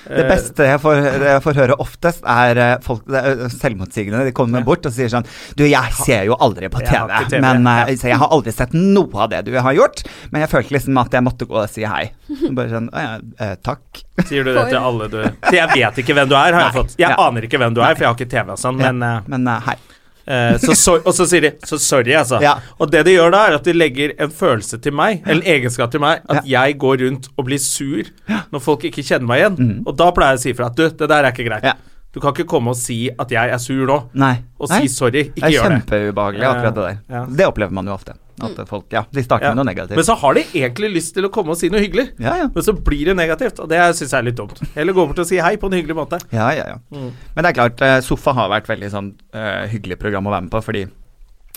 [SPEAKER 2] Det
[SPEAKER 1] eh,
[SPEAKER 2] beste jeg får, det jeg får høre oftest, er eh, folk det er, eh, selvmotsigende. De kommer bort og sier sånn Du, jeg ser jo aldri på
[SPEAKER 1] Jeg har
[SPEAKER 2] TV,
[SPEAKER 1] ikke TV,
[SPEAKER 2] men eh,
[SPEAKER 1] ja.
[SPEAKER 2] så jeg har aldri sett noe av det du har gjort. Men jeg følte liksom at jeg måtte gå og si hei. Og Bare sånn «Å Ja, eh, takk.
[SPEAKER 1] Sier du det til alle du Til jeg vet ikke hvem du er, har jeg
[SPEAKER 2] Nei.
[SPEAKER 1] fått. Jeg
[SPEAKER 2] Ja.
[SPEAKER 1] aner ikke hvem du er, for jeg har ikke TV og sånn,
[SPEAKER 2] Ja,
[SPEAKER 1] men eh,
[SPEAKER 2] Men eh, hei.
[SPEAKER 1] eh, så sorry, Og så sier de så sorry, altså.
[SPEAKER 2] Ja.
[SPEAKER 1] Og det de gjør da, er at de legger en følelse til meg, eller en egenskap til meg, at jeg går rundt og blir sur når folk ikke kjenner meg igjen. Og da pleier jeg å si ifra at du, det der er ikke greit.
[SPEAKER 2] Mm. Ja.
[SPEAKER 1] Du kan ikke komme og si at jeg er sur nå.
[SPEAKER 2] Nei.
[SPEAKER 1] og
[SPEAKER 2] Nei.
[SPEAKER 1] si sorry.
[SPEAKER 2] Det
[SPEAKER 1] Ikke
[SPEAKER 2] er
[SPEAKER 1] gjør det.
[SPEAKER 2] kjempeubehagelig,
[SPEAKER 1] Ja,
[SPEAKER 2] akkurat det der.
[SPEAKER 1] ja.
[SPEAKER 2] Det opplever man jo ofte. At folk Ja, de starter
[SPEAKER 1] Ja.
[SPEAKER 2] med noe negativt.
[SPEAKER 1] Men så har de egentlig lyst til å komme og si noe hyggelig,
[SPEAKER 2] Ja, ja.
[SPEAKER 1] men så blir det negativt, og det syns jeg er litt dumt. Eller gå bort og si hei på en hyggelig måte.
[SPEAKER 2] Ja, ja, ja.
[SPEAKER 1] Mm.
[SPEAKER 2] Men det er klart, eh, Sofa har vært veldig sånn eh, hyggelig program å være med på, fordi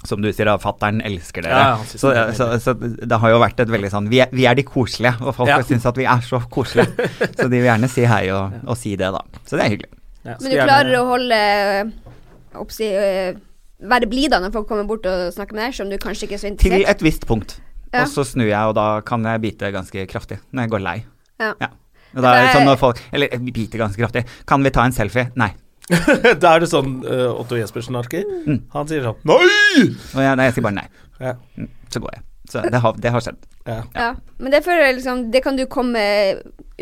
[SPEAKER 2] som du sier, fattern elsker dere.
[SPEAKER 1] Ja, ja, han synes
[SPEAKER 2] så,
[SPEAKER 1] det er
[SPEAKER 2] så, så det har jo vært et veldig sånn Vi er, vi er de koselige, og folk
[SPEAKER 1] Ja.
[SPEAKER 2] syns at vi er så koselige. så de vil gjerne si hei og, og si det, da. Så det er hyggelig.
[SPEAKER 1] Ja, så
[SPEAKER 3] Men du
[SPEAKER 1] gjerne-
[SPEAKER 3] klarer å holde øh, oppsi, øh, Være blid da når folk kommer bort og snakker med deg, som du kanskje ikke er så
[SPEAKER 2] Til
[SPEAKER 3] interessert
[SPEAKER 2] et visst punkt.
[SPEAKER 3] Ja.
[SPEAKER 2] Og så snur jeg, og da kan jeg bite ganske kraftig når jeg går lei.
[SPEAKER 3] Ja.
[SPEAKER 2] Ja. Og da er det
[SPEAKER 3] Det er-
[SPEAKER 2] sånn når folk Eller eh, bite ganske kraftig. Kan vi ta en selfie? Nei.
[SPEAKER 1] Da er det sånn eh, Otto Jespersen-arker.
[SPEAKER 2] Mm.
[SPEAKER 1] Han sier sånn Nei!
[SPEAKER 2] Og jeg, nei, jeg sier bare nei.
[SPEAKER 1] Ja.
[SPEAKER 2] Mm, Så går jeg. Så det har, det har skjedd.
[SPEAKER 1] Ja.
[SPEAKER 3] Ja. Men det føler jeg liksom Det kan du komme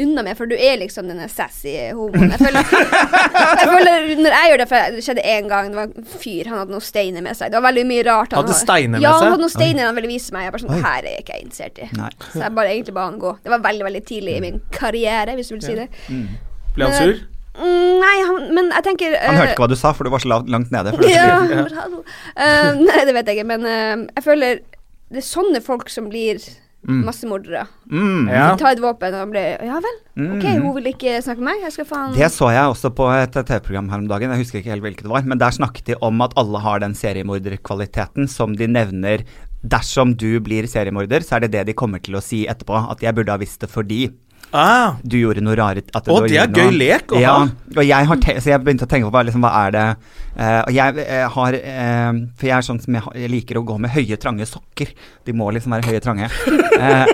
[SPEAKER 3] unna med, for du er liksom denne sassy homoen. Jeg føler, jeg føler Når jeg gjør det, for det skjedde én gang, det var en fyr, han hadde noen steiner med seg. Det var veldig mye rart.
[SPEAKER 1] Hadde steiner med
[SPEAKER 3] ja,
[SPEAKER 1] seg?
[SPEAKER 3] han hadde noen steiner han ville vise meg. Jeg bare sånn Her er jeg ikke interessert i.
[SPEAKER 2] Nei. Mm.
[SPEAKER 3] Så jeg bare egentlig ba han gå. Det var veldig, veldig tidlig i min karriere, hvis du vil si det.
[SPEAKER 1] Ble han
[SPEAKER 3] Men-
[SPEAKER 1] sur?
[SPEAKER 3] Mm, nei, han, men jeg tenker
[SPEAKER 2] Han
[SPEAKER 3] eh,
[SPEAKER 2] hørte ikke hva du sa, for du var så langt, langt nede. For det
[SPEAKER 3] ja,
[SPEAKER 2] skulle-
[SPEAKER 3] bravo. Eh, nei, det vet jeg ikke, men eh, jeg føler det er sånne folk som blir massemordere.
[SPEAKER 2] mm.
[SPEAKER 1] Ja.
[SPEAKER 3] Ta et våpen og blir Ja vel, OK, hun vil ikke snakke med meg, jeg skal faen
[SPEAKER 2] Det så jeg også på et TV-program her om dagen, jeg husker ikke helt hvilket det var, men der snakket de om at alle har den seriemorderkvaliteten som de nevner dersom du blir seriemorder, så er det det de kommer til å si etterpå, at jeg burde ha visst det fordi
[SPEAKER 1] Ah,
[SPEAKER 2] du gjorde noe rare at
[SPEAKER 1] Å,
[SPEAKER 2] du
[SPEAKER 1] det er
[SPEAKER 2] gjorde noe-
[SPEAKER 1] gøy lek å ha.
[SPEAKER 2] ja, og jeg har te Så jeg begynte å tenke på hva, liksom, hva er det eh, Og jeg eh, har eh, For jeg er sånn som jeg, har- jeg liker å gå med høye, trange sokker. De må liksom være høye, trange. Eh,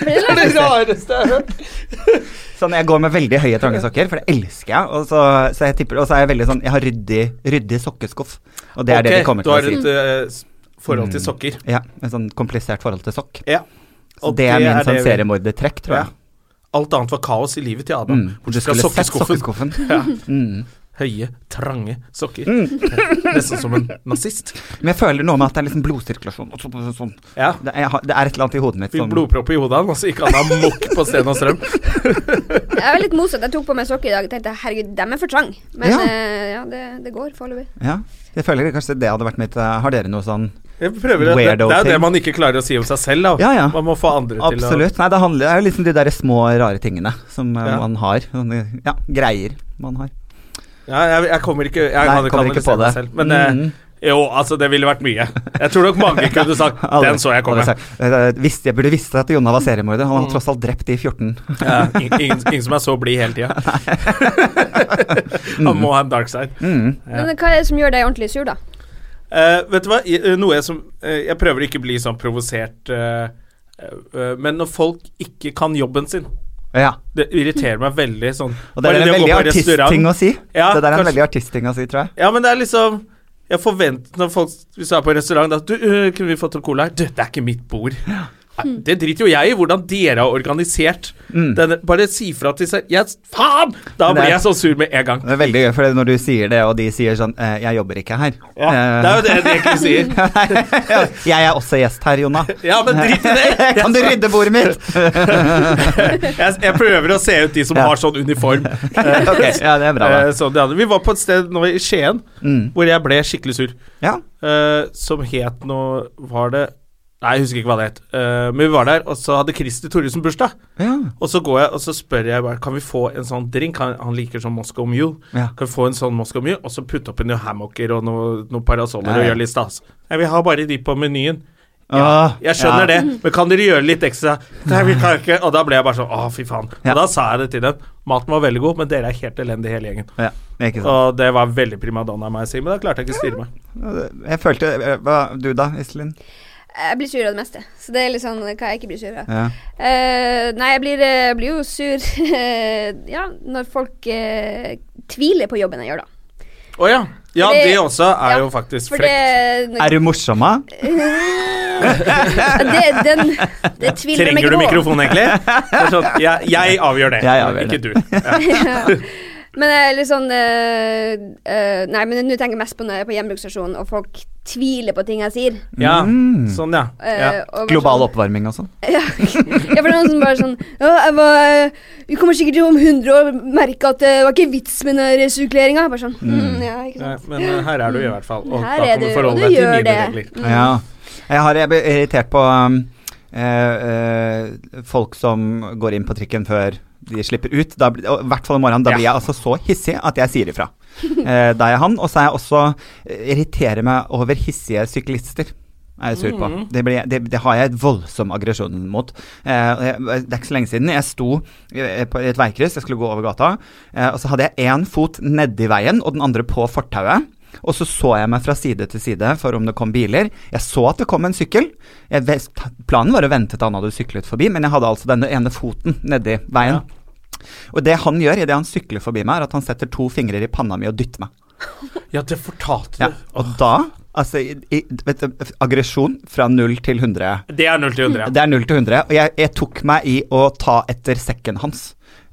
[SPEAKER 1] det er det rareste jeg har hørt.
[SPEAKER 2] Sånn, jeg går med veldig høye trange sokker, for det elsker jeg. Og så, så jeg tipper, og så er jeg veldig sånn Jeg har ryddig, ryddig sokkeskuff. Og det er det de kommer
[SPEAKER 1] du
[SPEAKER 2] til å
[SPEAKER 1] har
[SPEAKER 2] si. Mm.
[SPEAKER 1] et eh, s- forhold til sokker.
[SPEAKER 2] Ja, Et sånn komplisert forhold til sokk.
[SPEAKER 1] Ja.
[SPEAKER 2] Så det er min sånn
[SPEAKER 1] det vi-
[SPEAKER 2] seriemordertrekk, tror
[SPEAKER 1] Ja.
[SPEAKER 2] jeg.
[SPEAKER 1] Alt annet var kaos i livet til Adam.
[SPEAKER 2] Mm. Du
[SPEAKER 1] Bortsett fra
[SPEAKER 2] skulle sett
[SPEAKER 1] sokkeskuffen.
[SPEAKER 2] sokkeskuffen.
[SPEAKER 1] Ja.
[SPEAKER 2] Mm.
[SPEAKER 1] Høye, trange sokker. Nesten som en nazist.
[SPEAKER 2] Men jeg føler noe med at det er liksom blodsirkulasjon. og Sånn, sånn.
[SPEAKER 1] Ja.
[SPEAKER 2] Det, er, jeg har- det er et eller annet i hodet mitt
[SPEAKER 1] Fikk
[SPEAKER 2] som
[SPEAKER 1] blodpropp i hodet, han, og så gikk han amok på Sten og Strøm.
[SPEAKER 3] Jeg er litt motsatt. Jeg tok på meg sokker i dag og tenkte herregud, dem er for trang. Men
[SPEAKER 2] Ja.
[SPEAKER 3] ja, ja det, det går foreløpig.
[SPEAKER 2] Ja. Jeg føler kanskje det hadde vært mitt eh, Har dere noe sånn
[SPEAKER 1] Jeg prøver det. Det,
[SPEAKER 2] Weirdo
[SPEAKER 1] det er jo det
[SPEAKER 2] ting.
[SPEAKER 1] man ikke klarer å si om seg selv. Da.
[SPEAKER 2] Ja, ja.
[SPEAKER 1] Man må få andre til å
[SPEAKER 2] Absolutt. Nei, det, handler, det er jo liksom de derre små, rare tingene som eh,
[SPEAKER 1] Ja.
[SPEAKER 2] man har. Sånne, ja, greier man har.
[SPEAKER 1] ja, jeg, jeg kommer ikke Jeg
[SPEAKER 2] Nei,
[SPEAKER 1] kan ikke
[SPEAKER 2] kommer ikke på
[SPEAKER 1] analysere meg
[SPEAKER 2] det.
[SPEAKER 1] selv. Men eh,
[SPEAKER 2] Mm.
[SPEAKER 1] jo, altså, det ville vært mye. Jeg tror nok mange kunne sagt
[SPEAKER 2] Alle-
[SPEAKER 1] Den så jeg komme. Mm.
[SPEAKER 2] alle sa- Eh, visste- jeg burde visst at Jonna var seriemorder. Han har tross alt drept de 14.
[SPEAKER 1] Ja, ingen, ingen, ingen som er så blid hele tida. Han må ha en dark side.
[SPEAKER 2] Mm.
[SPEAKER 1] Ja.
[SPEAKER 3] Men eh, hva er det som gjør deg ordentlig sur, da?
[SPEAKER 1] Eh, vet du hva, I- eh, noe jeg som eh, Jeg prøver å ikke bli sånn provosert eh, eh, Men når folk ikke kan jobben sin
[SPEAKER 2] Ja.
[SPEAKER 1] Det irriterer meg veldig sånn
[SPEAKER 2] Og det
[SPEAKER 1] Bare
[SPEAKER 2] er en
[SPEAKER 1] det å gå
[SPEAKER 2] veldig
[SPEAKER 1] på
[SPEAKER 2] artistting å
[SPEAKER 1] restaurant-
[SPEAKER 2] si.
[SPEAKER 1] Ja,
[SPEAKER 2] det der er en
[SPEAKER 1] kanskje-
[SPEAKER 2] veldig artistting å si, tror jeg.
[SPEAKER 1] Ja, men det er liksom Jeg forventer når folk Hvis jeg er på restaurant da, du, øh, Kunne vi fått en cola her? Du, det er ikke mitt bord. Nei, Det driter jo jeg i, hvordan dere har organisert denne. Bare si fra til seg jeg, Faen! Da
[SPEAKER 2] Mm. Men det
[SPEAKER 1] blir
[SPEAKER 2] er-
[SPEAKER 1] jeg så sur med en gang.
[SPEAKER 2] Det er veldig gøy, for når du sier det, og de sier sånn eh, 'Jeg jobber ikke her'.
[SPEAKER 1] Ja, det er jo det de egentlig sier.
[SPEAKER 2] Eh, jeg er også gjest her, Jonna.
[SPEAKER 1] Ja, men drit i det!
[SPEAKER 2] Kan du rydde bordet mitt?
[SPEAKER 1] Jeg, jeg prøver å se ut de som
[SPEAKER 2] Ja.
[SPEAKER 1] har sånn uniform.
[SPEAKER 2] ok, ja, det er bra.
[SPEAKER 1] Eh,
[SPEAKER 2] Da.
[SPEAKER 1] så det hadde. Vi var på et sted nå i Skien
[SPEAKER 2] Mm.
[SPEAKER 1] hvor jeg ble skikkelig sur.
[SPEAKER 2] Ja.
[SPEAKER 1] eh, som het noe Var det Nei, jeg husker ikke hva det het. Eh, men vi var der, og så hadde Christer Thoresen bursdag.
[SPEAKER 2] Ja.
[SPEAKER 1] Og så går jeg og så spør jeg bare Kan vi få en sånn drink. Han, han liker sånn Moscow Mule.
[SPEAKER 2] Ja.
[SPEAKER 1] Kan vi få en sånn Moscow Mule, og så putte oppi noen hammocker og noen noe parasoller
[SPEAKER 2] Ja, ja.
[SPEAKER 1] og gjøre litt stas? Nei, vi har bare de på menyen.
[SPEAKER 2] Åh,
[SPEAKER 1] Jeg skjønner
[SPEAKER 2] ja.
[SPEAKER 1] det, men kan dere gjøre litt ekstra? Nei, vi kan ikke Og da ble jeg bare sånn Å, fy faen.
[SPEAKER 2] Ja.
[SPEAKER 1] Og da sa jeg det til dem. Maten var veldig god, men dere er helt elendige, hele gjengen.
[SPEAKER 2] Ja, ikke sant.
[SPEAKER 1] Og det var veldig primadonna av meg å si, men da klarte jeg ikke å styre meg.
[SPEAKER 2] Jeg følte eh, Hva du da, Iselin?
[SPEAKER 3] Jeg blir sur av det meste, så det er litt sånn hva jeg ikke blir sur av.
[SPEAKER 2] Ja.
[SPEAKER 3] Eh, nei, jeg blir, eh, blir jo sur ja, når folk eh, tviler på jobben jeg gjør, da.
[SPEAKER 1] Å ja. Ja,
[SPEAKER 3] For
[SPEAKER 1] det,
[SPEAKER 3] det-
[SPEAKER 1] også er
[SPEAKER 3] ja,
[SPEAKER 1] jo faktisk
[SPEAKER 3] For det,
[SPEAKER 1] frekt.
[SPEAKER 3] ja,
[SPEAKER 2] Er du morsom, da?
[SPEAKER 3] det, den, det tviler de
[SPEAKER 1] Trenger du
[SPEAKER 3] ikke på.
[SPEAKER 1] mikrofon, egentlig? Det er Sånn, jeg, jeg avgjør det,
[SPEAKER 2] Jeg avgjør
[SPEAKER 1] ikke du.
[SPEAKER 3] Men jeg er litt sånn eh, eh, Nei, men nå tenker jeg mest på når jeg er på gjenbruksstasjonen og folk tviler på ting jeg sier.
[SPEAKER 1] Ja,
[SPEAKER 2] Mm.
[SPEAKER 1] sånn, ja. ja.
[SPEAKER 3] Eh, og bare
[SPEAKER 2] Global
[SPEAKER 3] sånn-
[SPEAKER 2] oppvarming og sånn?
[SPEAKER 3] Ja, for det er noen som bare sånn Ja, jeg var eh, Vi kommer sikkert til om 100 år og merke at det var ikke vits med den resirkuleringa. Bare sånn mm, Ja, ikke
[SPEAKER 1] Nei,
[SPEAKER 3] sant.
[SPEAKER 1] Men eh, her er du i hvert fall, og
[SPEAKER 3] Her
[SPEAKER 1] da
[SPEAKER 3] er
[SPEAKER 1] kommer
[SPEAKER 3] du, og
[SPEAKER 1] forholdet
[SPEAKER 3] du
[SPEAKER 1] deg til
[SPEAKER 3] gjør
[SPEAKER 1] mine
[SPEAKER 3] det.
[SPEAKER 1] regler.
[SPEAKER 2] Ja. Jeg har jeg blir irritert på um, eh, eh, folk som går inn på trikken før de slipper ut. Da, blir- og I hvert fall om morgenen. Da blir jeg altså så hissig at jeg sier ifra. Eh, da er jeg han. Og så er jeg også eh, irriterer meg over hissige syklister. Er jeg sur på. Det, blir, det, det har jeg et voldsom aggresjon mot. Eh, og jeg, det er ikke så lenge siden. Jeg sto eh, på et veikryss, jeg skulle gå over gata. Eh, og så hadde jeg én fot nedi veien og den andre på fortauet. Og så så jeg meg fra side til side for om det kom biler. Jeg så at det kom en sykkel. Jeg, ves- planen var å vente til han hadde syklet forbi, men jeg hadde altså denne ene foten nedi veien. Og det han gjør idet han sykler forbi meg, er at han setter to fingre i panna mi og dytter meg.
[SPEAKER 1] Ja, det fortalte du.
[SPEAKER 2] Ja. Og da Altså, i, i, vet du, aggresjon fra null til 100.
[SPEAKER 1] Det er null til hundre.
[SPEAKER 2] Det er null til 100. Og jeg, jeg tok meg i å ta etter sekken hans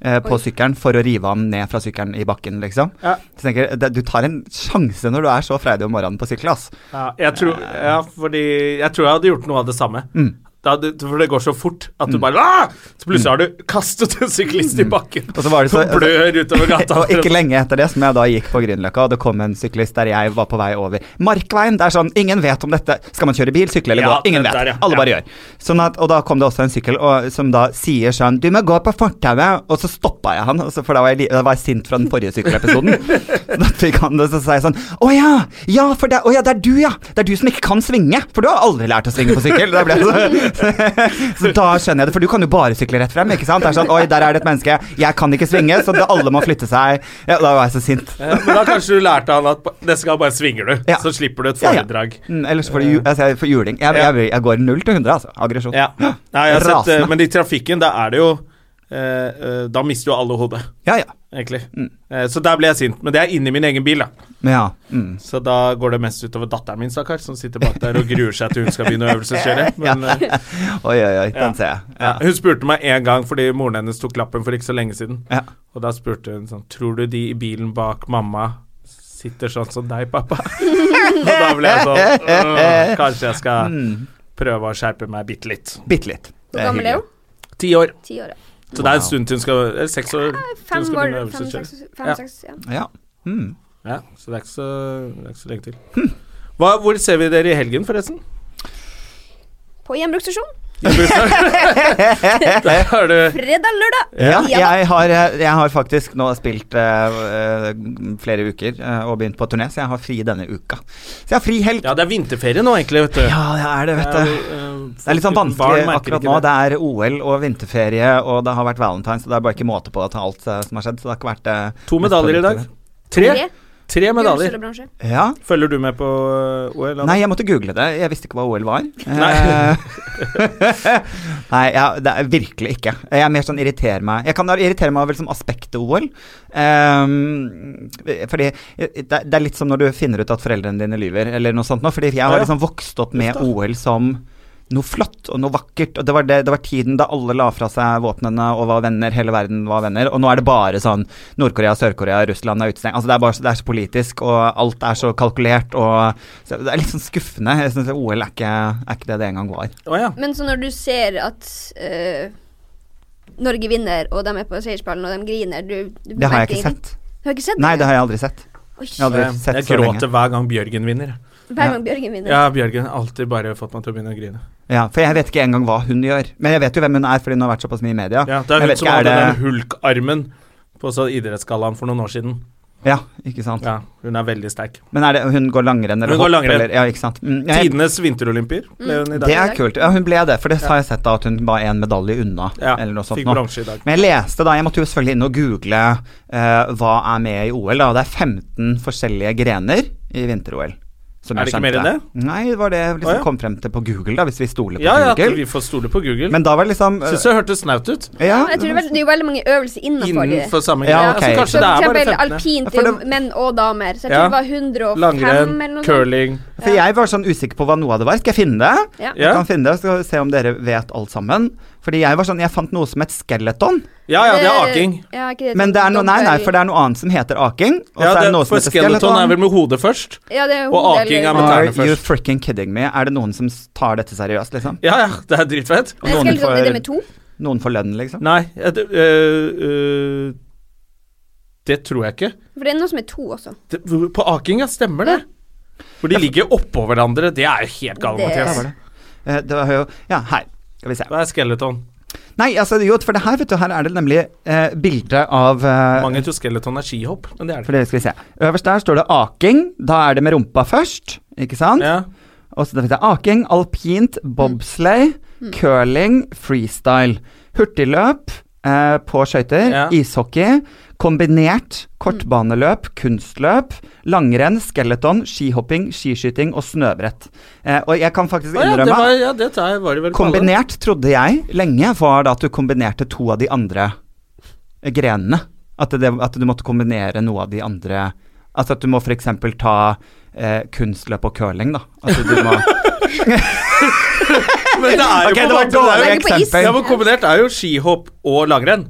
[SPEAKER 2] eh, på sykkelen for å rive ham ned fra sykkelen i bakken, liksom.
[SPEAKER 1] Ja.
[SPEAKER 2] Så tenker jeg, det- du tar en sjanse når du er så freidig om morgenen på sykkel, ass.
[SPEAKER 1] Ja, jeg tror, ja, Mm. fordi jeg tror jeg hadde gjort noe av det samme. Da hadde- for det går så fort at du bare «Ah!» Så plutselig har du kastet en syklist i bakken
[SPEAKER 2] Og så var det så-
[SPEAKER 1] som blør utover gata.
[SPEAKER 2] Og ikke lenge etter det som jeg da gikk på Grünerløkka, og det kom en syklist der jeg var på vei over Markveien. Det er sånn, ingen vet om dette. Skal man kjøre bil, sykle eller
[SPEAKER 1] Ja,
[SPEAKER 2] gå? Ingen
[SPEAKER 1] det
[SPEAKER 2] vet.
[SPEAKER 1] der, ja.
[SPEAKER 2] Alle bare
[SPEAKER 1] Ja.
[SPEAKER 2] gjør. Sånn at, og da kom det også en sykkel og, som da sier sånn Du må gå på fortauet. Og så stoppa jeg han, og så- for da var jeg, li- da var jeg sint fra den forrige sykkelepisoden. Så da fikk han det, så sa jeg sånn Å ja, ja, for det, å ja, det er du, ja. Det er du som ikke kan svinge. For du har aldri lært å svinge på sykkel. Da ble jeg så, så da skjønner jeg det, for du kan jo bare sykle rett frem, ikke sant? Det er sånn Oi, der er det et menneske. Jeg kan ikke svinge, så det, alle må flytte seg. Ja, da var jeg så sint.
[SPEAKER 1] Ja, Men da kanskje du lærte han at ba- neste gang bare svinger du,
[SPEAKER 2] Ja.
[SPEAKER 1] så slipper du et
[SPEAKER 2] Ja, ja.
[SPEAKER 1] foredrag.
[SPEAKER 2] Mm, ellers får du ju- altså, jeg får juling. Jeg,
[SPEAKER 1] Ja.
[SPEAKER 2] jeg, jeg går null til 100, altså. Aggresjon.
[SPEAKER 1] Ja. Nei, jeg har sett,
[SPEAKER 2] Rasende.
[SPEAKER 1] eh, men i trafikken, da er det jo eh, eh, Da mister jo alle hodet,
[SPEAKER 2] Ja, ja.
[SPEAKER 1] egentlig.
[SPEAKER 2] Mm.
[SPEAKER 1] Eh, så der ble jeg sint. Men det er inni min egen bil, da.
[SPEAKER 2] ja. Mm.
[SPEAKER 1] Så da går det mest utover datteren min, stakkar, som sitter bak der og gruer seg til hun skal begynne å øvelseskjøre. Men eh,
[SPEAKER 2] Oi, oi, oi. Den
[SPEAKER 1] Ja.
[SPEAKER 2] ser jeg. Ja.
[SPEAKER 1] Ja. Hun spurte meg en gang fordi moren hennes tok lappen for ikke så lenge siden.
[SPEAKER 2] Ja.
[SPEAKER 1] Og da spurte hun sånn Tror du de i bilen bak mamma sitter sånn som deg, pappa? og da ble jeg sånn «Åh, Kanskje jeg skal prøve å skjerpe meg bitte litt.
[SPEAKER 2] Mm. Bitte litt. Det
[SPEAKER 3] Hvor gammel er
[SPEAKER 2] hyggelig.
[SPEAKER 3] hun?
[SPEAKER 1] Ti år.
[SPEAKER 3] Ti år, ja.
[SPEAKER 1] Så det er en stund til hun skal Eller seks år. til hun
[SPEAKER 3] Fem
[SPEAKER 1] skal
[SPEAKER 3] år,
[SPEAKER 1] begynne å
[SPEAKER 3] fem,
[SPEAKER 1] øvelseskjøre.
[SPEAKER 3] seks,
[SPEAKER 1] Ja.
[SPEAKER 3] fem, seks, ja.
[SPEAKER 2] Ja. Mm.
[SPEAKER 1] Ja, så det er ikke så, det er ikke så lenge til.
[SPEAKER 2] Hm.
[SPEAKER 1] Hva, hvor ser vi dere i helgen, forresten?
[SPEAKER 3] På gjenbruksstasjon.
[SPEAKER 1] Der har du
[SPEAKER 3] Fredag, lørdag.
[SPEAKER 2] Ja,
[SPEAKER 3] Ja da.
[SPEAKER 2] jeg har, eh, jeg har faktisk nå spilt eh, eh, flere uker eh, og begynt på turné, så jeg har fri denne uka. Så jeg har fri helg.
[SPEAKER 1] Ja, det er vinterferie nå, egentlig, vet du. eh,
[SPEAKER 2] Ja, det er det, vet du. Det er litt sånn vanskelig akkurat nå. Det er OL og vinterferie, og det har vært valentines, så det er bare ikke måte på å ta alt eh, som har skjedd. Så det har ikke vært eh,
[SPEAKER 1] To
[SPEAKER 2] mest
[SPEAKER 1] medaljer i dag.
[SPEAKER 2] produktive.
[SPEAKER 1] Tre?
[SPEAKER 3] Tre.
[SPEAKER 1] Tre medaljer.
[SPEAKER 3] Gullsølvbransje.
[SPEAKER 2] Ja.
[SPEAKER 1] Følger du med på øh, OL? Anne?
[SPEAKER 2] Nei, jeg måtte google det. Jeg visste ikke hva OL var.
[SPEAKER 1] Nei.
[SPEAKER 2] Eh, Nei, ja, det er virkelig ikke. Jeg er mer sånn irriterer meg Jeg kan da irritere meg over liksom aspektet OL. Ehm, fordi eh, det, det er litt som når du finner ut at foreldrene dine lyver, eller noe sånt nå. Fordi jeg
[SPEAKER 1] Ja,
[SPEAKER 2] har
[SPEAKER 1] ja.
[SPEAKER 2] liksom vokst opp med
[SPEAKER 1] Uff da.
[SPEAKER 2] OL som noe flott og noe vakkert. Og det var, det, det var tiden da alle la fra seg våpnene og var venner. Hele verden var venner. Og nå er det bare sånn Nord-Korea, Sør-Korea, Russland er utestengt. Altså det er, bare, så- det er så politisk, og alt er så kalkulert. Og så det er litt sånn skuffende. Jeg synes OL er ikke, er ikke det det en gang var.
[SPEAKER 1] Å ja.
[SPEAKER 3] Men så når du ser at eh, Norge vinner, og de er på seierspallen, og de griner du, du
[SPEAKER 2] Det har jeg
[SPEAKER 3] merker
[SPEAKER 2] ikke
[SPEAKER 3] ingenting.
[SPEAKER 2] sett.
[SPEAKER 3] Du har ikke sett
[SPEAKER 2] Nei, det har jeg aldri sett.
[SPEAKER 3] Oi,
[SPEAKER 2] Jeg har aldri
[SPEAKER 1] Jeg,
[SPEAKER 2] sett
[SPEAKER 1] Eh, jeg
[SPEAKER 2] så lenge.
[SPEAKER 1] gråter hver gang Bjørgen vinner.
[SPEAKER 3] Hver gang Bjørgen vinner.
[SPEAKER 1] Ja, Bjørgen har alltid bare fått meg til å begynne å grine.
[SPEAKER 2] Ja, for jeg vet ikke engang hva hun gjør. Men jeg vet jo hvem hun er, fordi hun har vært såpass mye i media.
[SPEAKER 1] Ja, det
[SPEAKER 2] Jeg
[SPEAKER 1] er hun
[SPEAKER 2] vet
[SPEAKER 1] som
[SPEAKER 2] ikke, er
[SPEAKER 1] hadde
[SPEAKER 2] det-
[SPEAKER 1] den hulkarmen på så idrettsgallaen for noen år siden.
[SPEAKER 2] Ja, ikke sant.
[SPEAKER 1] Ja, hun er veldig sterk.
[SPEAKER 2] Men er det, hun går langrenn eller
[SPEAKER 1] Hun går
[SPEAKER 2] hopp,
[SPEAKER 1] langrenn.
[SPEAKER 2] Eller, ja, ikke sant. Mm, jeg-
[SPEAKER 1] Tidenes vinterolympier ble hun i
[SPEAKER 2] det
[SPEAKER 1] dag.
[SPEAKER 2] er kult. Ja, hun ble det, for det har jeg sett da, at hun var én medalje unna.
[SPEAKER 1] Ja,
[SPEAKER 2] eller noe sånt
[SPEAKER 1] fikk
[SPEAKER 2] nå.
[SPEAKER 1] bronse i dag.
[SPEAKER 2] Men jeg leste da, jeg måtte jo selvfølgelig inn og google eh, hva er med i OL. da, Det er 15 forskjellige grener i vinter-OL. som
[SPEAKER 1] Er det
[SPEAKER 2] jeg
[SPEAKER 1] ikke mer enn
[SPEAKER 2] skjønte.
[SPEAKER 1] det?
[SPEAKER 2] Nei, det var det jeg liksom
[SPEAKER 1] Å, ja.
[SPEAKER 2] kom frem til på Google, da, hvis vi stoler på
[SPEAKER 1] Ja, ja, at
[SPEAKER 2] Google.
[SPEAKER 1] vi får stole på Google.
[SPEAKER 2] Men da var det liksom eh,
[SPEAKER 1] Syns det hørtes snaut ut.
[SPEAKER 2] ja,
[SPEAKER 3] Jeg tror det er veld- det er jo veldig mange øvelser innenfor det.
[SPEAKER 1] Innenfor samme
[SPEAKER 2] Ja,
[SPEAKER 1] greie.
[SPEAKER 2] ok.
[SPEAKER 1] Så
[SPEAKER 3] Så
[SPEAKER 1] kanskje det
[SPEAKER 3] for
[SPEAKER 1] er bare
[SPEAKER 3] eksempel
[SPEAKER 1] 15.
[SPEAKER 3] alpint,
[SPEAKER 2] Ja,
[SPEAKER 3] det
[SPEAKER 2] for
[SPEAKER 3] er jo
[SPEAKER 2] det-
[SPEAKER 3] menn og damer. Så jeg
[SPEAKER 1] Ja.
[SPEAKER 3] tror det var 105
[SPEAKER 1] Langrenn,
[SPEAKER 3] eller noe sånt.
[SPEAKER 1] curling
[SPEAKER 2] For jeg var sånn usikker på hva noe av det var. Skal jeg finne det?
[SPEAKER 3] Ja.
[SPEAKER 2] Jeg
[SPEAKER 1] Ja.
[SPEAKER 2] kan finne det, så skal vi se om dere vet alt sammen. Fordi jeg var sånn, jeg fant noe som het skeleton.
[SPEAKER 1] Ah, Ja, ja, det er aking.
[SPEAKER 3] Ja, ikke sånn
[SPEAKER 2] Men det er noe, nei, nei, for det er noe annet som heter aking. Og
[SPEAKER 1] Ja,
[SPEAKER 2] så er
[SPEAKER 1] det,
[SPEAKER 2] det noe
[SPEAKER 1] for
[SPEAKER 2] som heter
[SPEAKER 1] skeleton er vel
[SPEAKER 2] skeleton.
[SPEAKER 1] med hodet først.
[SPEAKER 3] Ja, det er
[SPEAKER 1] Og
[SPEAKER 3] hodet
[SPEAKER 1] aking
[SPEAKER 3] eller-
[SPEAKER 1] er med
[SPEAKER 2] Are
[SPEAKER 1] tærne
[SPEAKER 2] you
[SPEAKER 1] først.
[SPEAKER 2] freaking kidding me? Er det noen som s- tar dette seriøst, liksom?
[SPEAKER 1] Ja, ja, det er dritfett.
[SPEAKER 3] Men jeg skal
[SPEAKER 2] Noen
[SPEAKER 3] liksom
[SPEAKER 2] får-
[SPEAKER 3] det med to.
[SPEAKER 2] Noen får lønn, liksom?
[SPEAKER 1] Nei, jeg- det, øh, øh, det tror jeg ikke.
[SPEAKER 3] For det er noe som er to også.
[SPEAKER 1] Det, på aking, ja, stemmer det. For de ligger oppå hverandre. Det er jo helt galt,
[SPEAKER 3] Det-
[SPEAKER 1] Mathias.
[SPEAKER 2] Eh, Det var jo Ja, her. Skal vi se.
[SPEAKER 1] Det er skeleton.
[SPEAKER 2] Nei, altså, jo, for det her, vet du, her er det nemlig eh, bilde av eh,
[SPEAKER 1] Mange tror skeleton er skihopp, men det er
[SPEAKER 2] For
[SPEAKER 1] det.
[SPEAKER 2] det skal vi se. Øverst der står det aking. Da er det med rumpa først, ikke sant?
[SPEAKER 1] Ja.
[SPEAKER 2] Og så da finnes det aking, alpint, bobsleigh,
[SPEAKER 1] Mm.
[SPEAKER 2] curling, freestyle. Hurtigløp eh, på skøyter,
[SPEAKER 1] Ja.
[SPEAKER 2] ishockey, kombinert kortbaneløp,
[SPEAKER 1] Mm.
[SPEAKER 2] kunstløp, langrenn, skeleton, skihopping, skiskyting og snøbrett. Eh, og jeg kan
[SPEAKER 1] Å,
[SPEAKER 2] faktisk
[SPEAKER 1] ja, det
[SPEAKER 2] innrømme
[SPEAKER 1] var, ja, det tar- var det vel på alle.
[SPEAKER 2] Kombinert trodde jeg lenge var da at du kombinerte to av de andre grenene. At, det, at du måtte kombinere noe av de andre Altså at du må f.eks. ta eh, kunstløp og curling, da. At du må
[SPEAKER 1] Men det er jo på en måte-
[SPEAKER 2] Ok, det var
[SPEAKER 1] det er jo-
[SPEAKER 2] dårlig
[SPEAKER 3] ikke på is.
[SPEAKER 2] eksempel.
[SPEAKER 1] Ja, men kombinert er jo skihopp og langrenn.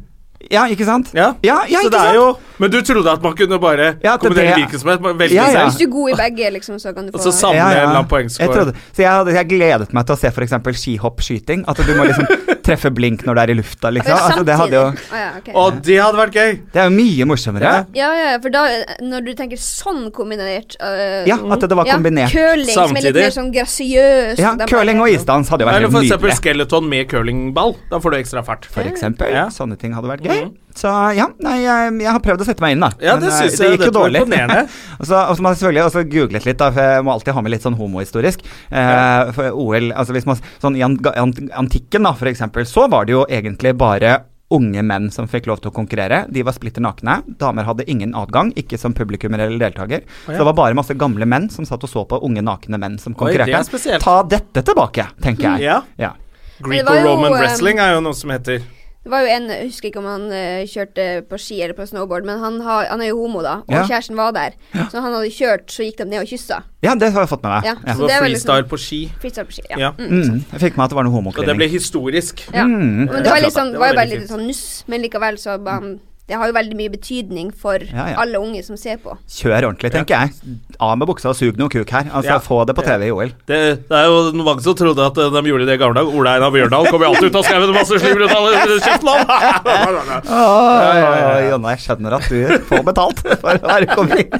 [SPEAKER 2] Ja, ikke sant?
[SPEAKER 1] Ja.
[SPEAKER 2] ja, ja
[SPEAKER 1] så
[SPEAKER 2] ikke
[SPEAKER 1] det er
[SPEAKER 2] sant?
[SPEAKER 1] jo Men du trodde at man kunne bare
[SPEAKER 2] Ja, at
[SPEAKER 1] kombinere
[SPEAKER 2] det-
[SPEAKER 1] hvilken som helst? bare Velge
[SPEAKER 2] Ja, ja.
[SPEAKER 1] selv?
[SPEAKER 3] Hvis du er god i begge, liksom, så kan du få
[SPEAKER 1] Og så samle
[SPEAKER 2] ja,
[SPEAKER 1] en eller
[SPEAKER 2] ja.
[SPEAKER 1] annen poengscore.
[SPEAKER 2] Jeg trodde, så jeg, hadde, jeg gledet meg til å se f.eks. skihoppskyting. At du må liksom treffe blink når du er i lufta,
[SPEAKER 3] Å, ja,
[SPEAKER 2] liksom. Altså, det, hadde jo,
[SPEAKER 3] samtidig. Å, ja, ok.
[SPEAKER 1] Og det hadde vært gøy!
[SPEAKER 2] det er jo mye morsommere.
[SPEAKER 1] Ja.
[SPEAKER 3] ja, ja, for da, når du tenker sånn kombinert øh,
[SPEAKER 2] Ja, at det var
[SPEAKER 3] ja,
[SPEAKER 2] kombinert.
[SPEAKER 3] Curling, som er
[SPEAKER 1] Samtidig.
[SPEAKER 3] litt mer sånn grasiøs.
[SPEAKER 2] Ja,
[SPEAKER 3] og de
[SPEAKER 2] curling
[SPEAKER 3] bare-
[SPEAKER 2] og isdans hadde jo vært
[SPEAKER 1] Eller
[SPEAKER 2] helt
[SPEAKER 1] for eksempel
[SPEAKER 2] nydelig.
[SPEAKER 1] skeleton med curlingball. Da får du ekstra fart.
[SPEAKER 2] For eksempel.
[SPEAKER 1] Ja. Mhm.
[SPEAKER 2] Sånne ting hadde vært gøy. Så ja, nei, jeg, jeg har prøvd å sette meg inn, da.
[SPEAKER 1] Ja, det
[SPEAKER 2] eh,
[SPEAKER 1] synes jeg
[SPEAKER 2] gikk jo
[SPEAKER 1] dette var
[SPEAKER 2] dårlig.
[SPEAKER 1] imponerende.
[SPEAKER 2] og så og så må jeg selvfølgelig også googlet litt, da, for jeg må alltid ha med litt sånn homohistorisk. Eh, for OL, altså hvis man Sånn i an- an- antikken, da, for eksempel, så var det jo egentlig bare Unge menn som fikk lov til å konkurrere. De var splitter nakne. Damer hadde ingen adgang, ikke som publikummer eller deltaker. Så det var bare masse gamle menn som satt og så på unge nakne menn som
[SPEAKER 1] Oi, det er
[SPEAKER 2] konkurrerte.
[SPEAKER 1] spesielt.
[SPEAKER 2] Ta dette tilbake, tenker jeg.
[SPEAKER 1] Ja.
[SPEAKER 2] ja.
[SPEAKER 3] det var jo,
[SPEAKER 1] Greco-Roman
[SPEAKER 3] eh,
[SPEAKER 1] wrestling er jo noe som heter
[SPEAKER 3] Det var jo en, jeg husker ikke om han eh, kjørte på ski eller på snowboard, men han, har, han er jo homo, da, og
[SPEAKER 2] Ja.
[SPEAKER 3] kjæresten var der. Så når han hadde kjørt, så gikk de ned og kyssa.
[SPEAKER 2] Ja, det har jeg fått med meg.
[SPEAKER 3] Ja,
[SPEAKER 2] Ja.
[SPEAKER 3] så det var liksom
[SPEAKER 1] freestyle på ski.
[SPEAKER 3] Freestyle på ski, ja.
[SPEAKER 1] Ja.
[SPEAKER 2] Mm, jeg fikk med at det var noe
[SPEAKER 1] Og det
[SPEAKER 2] homoklining.
[SPEAKER 1] ble historisk.
[SPEAKER 3] ja.
[SPEAKER 2] Mm.
[SPEAKER 3] Men det var liksom,
[SPEAKER 1] Det
[SPEAKER 3] det
[SPEAKER 1] var
[SPEAKER 3] var jo bare
[SPEAKER 1] veldig
[SPEAKER 3] litt sånn nuss, men likevel så bare, Det har jo veldig mye betydning for
[SPEAKER 2] Ja, ja.
[SPEAKER 3] alle unge som ser på.
[SPEAKER 2] Kjør ordentlig, tenker jeg. Av med buksa og sug noe kuk her. Altså,
[SPEAKER 1] Ja.
[SPEAKER 2] Få det på TV i OL.
[SPEAKER 1] Det, det er jo mange som trodde at eh, de gjorde det i gamle dager. Ola Einar Bjørdal kom jo alltid ut av skauen med masse slimer ut av kjeften! av.
[SPEAKER 2] Oi, Jonna, jeg skjønner at du får betalt for å være komik.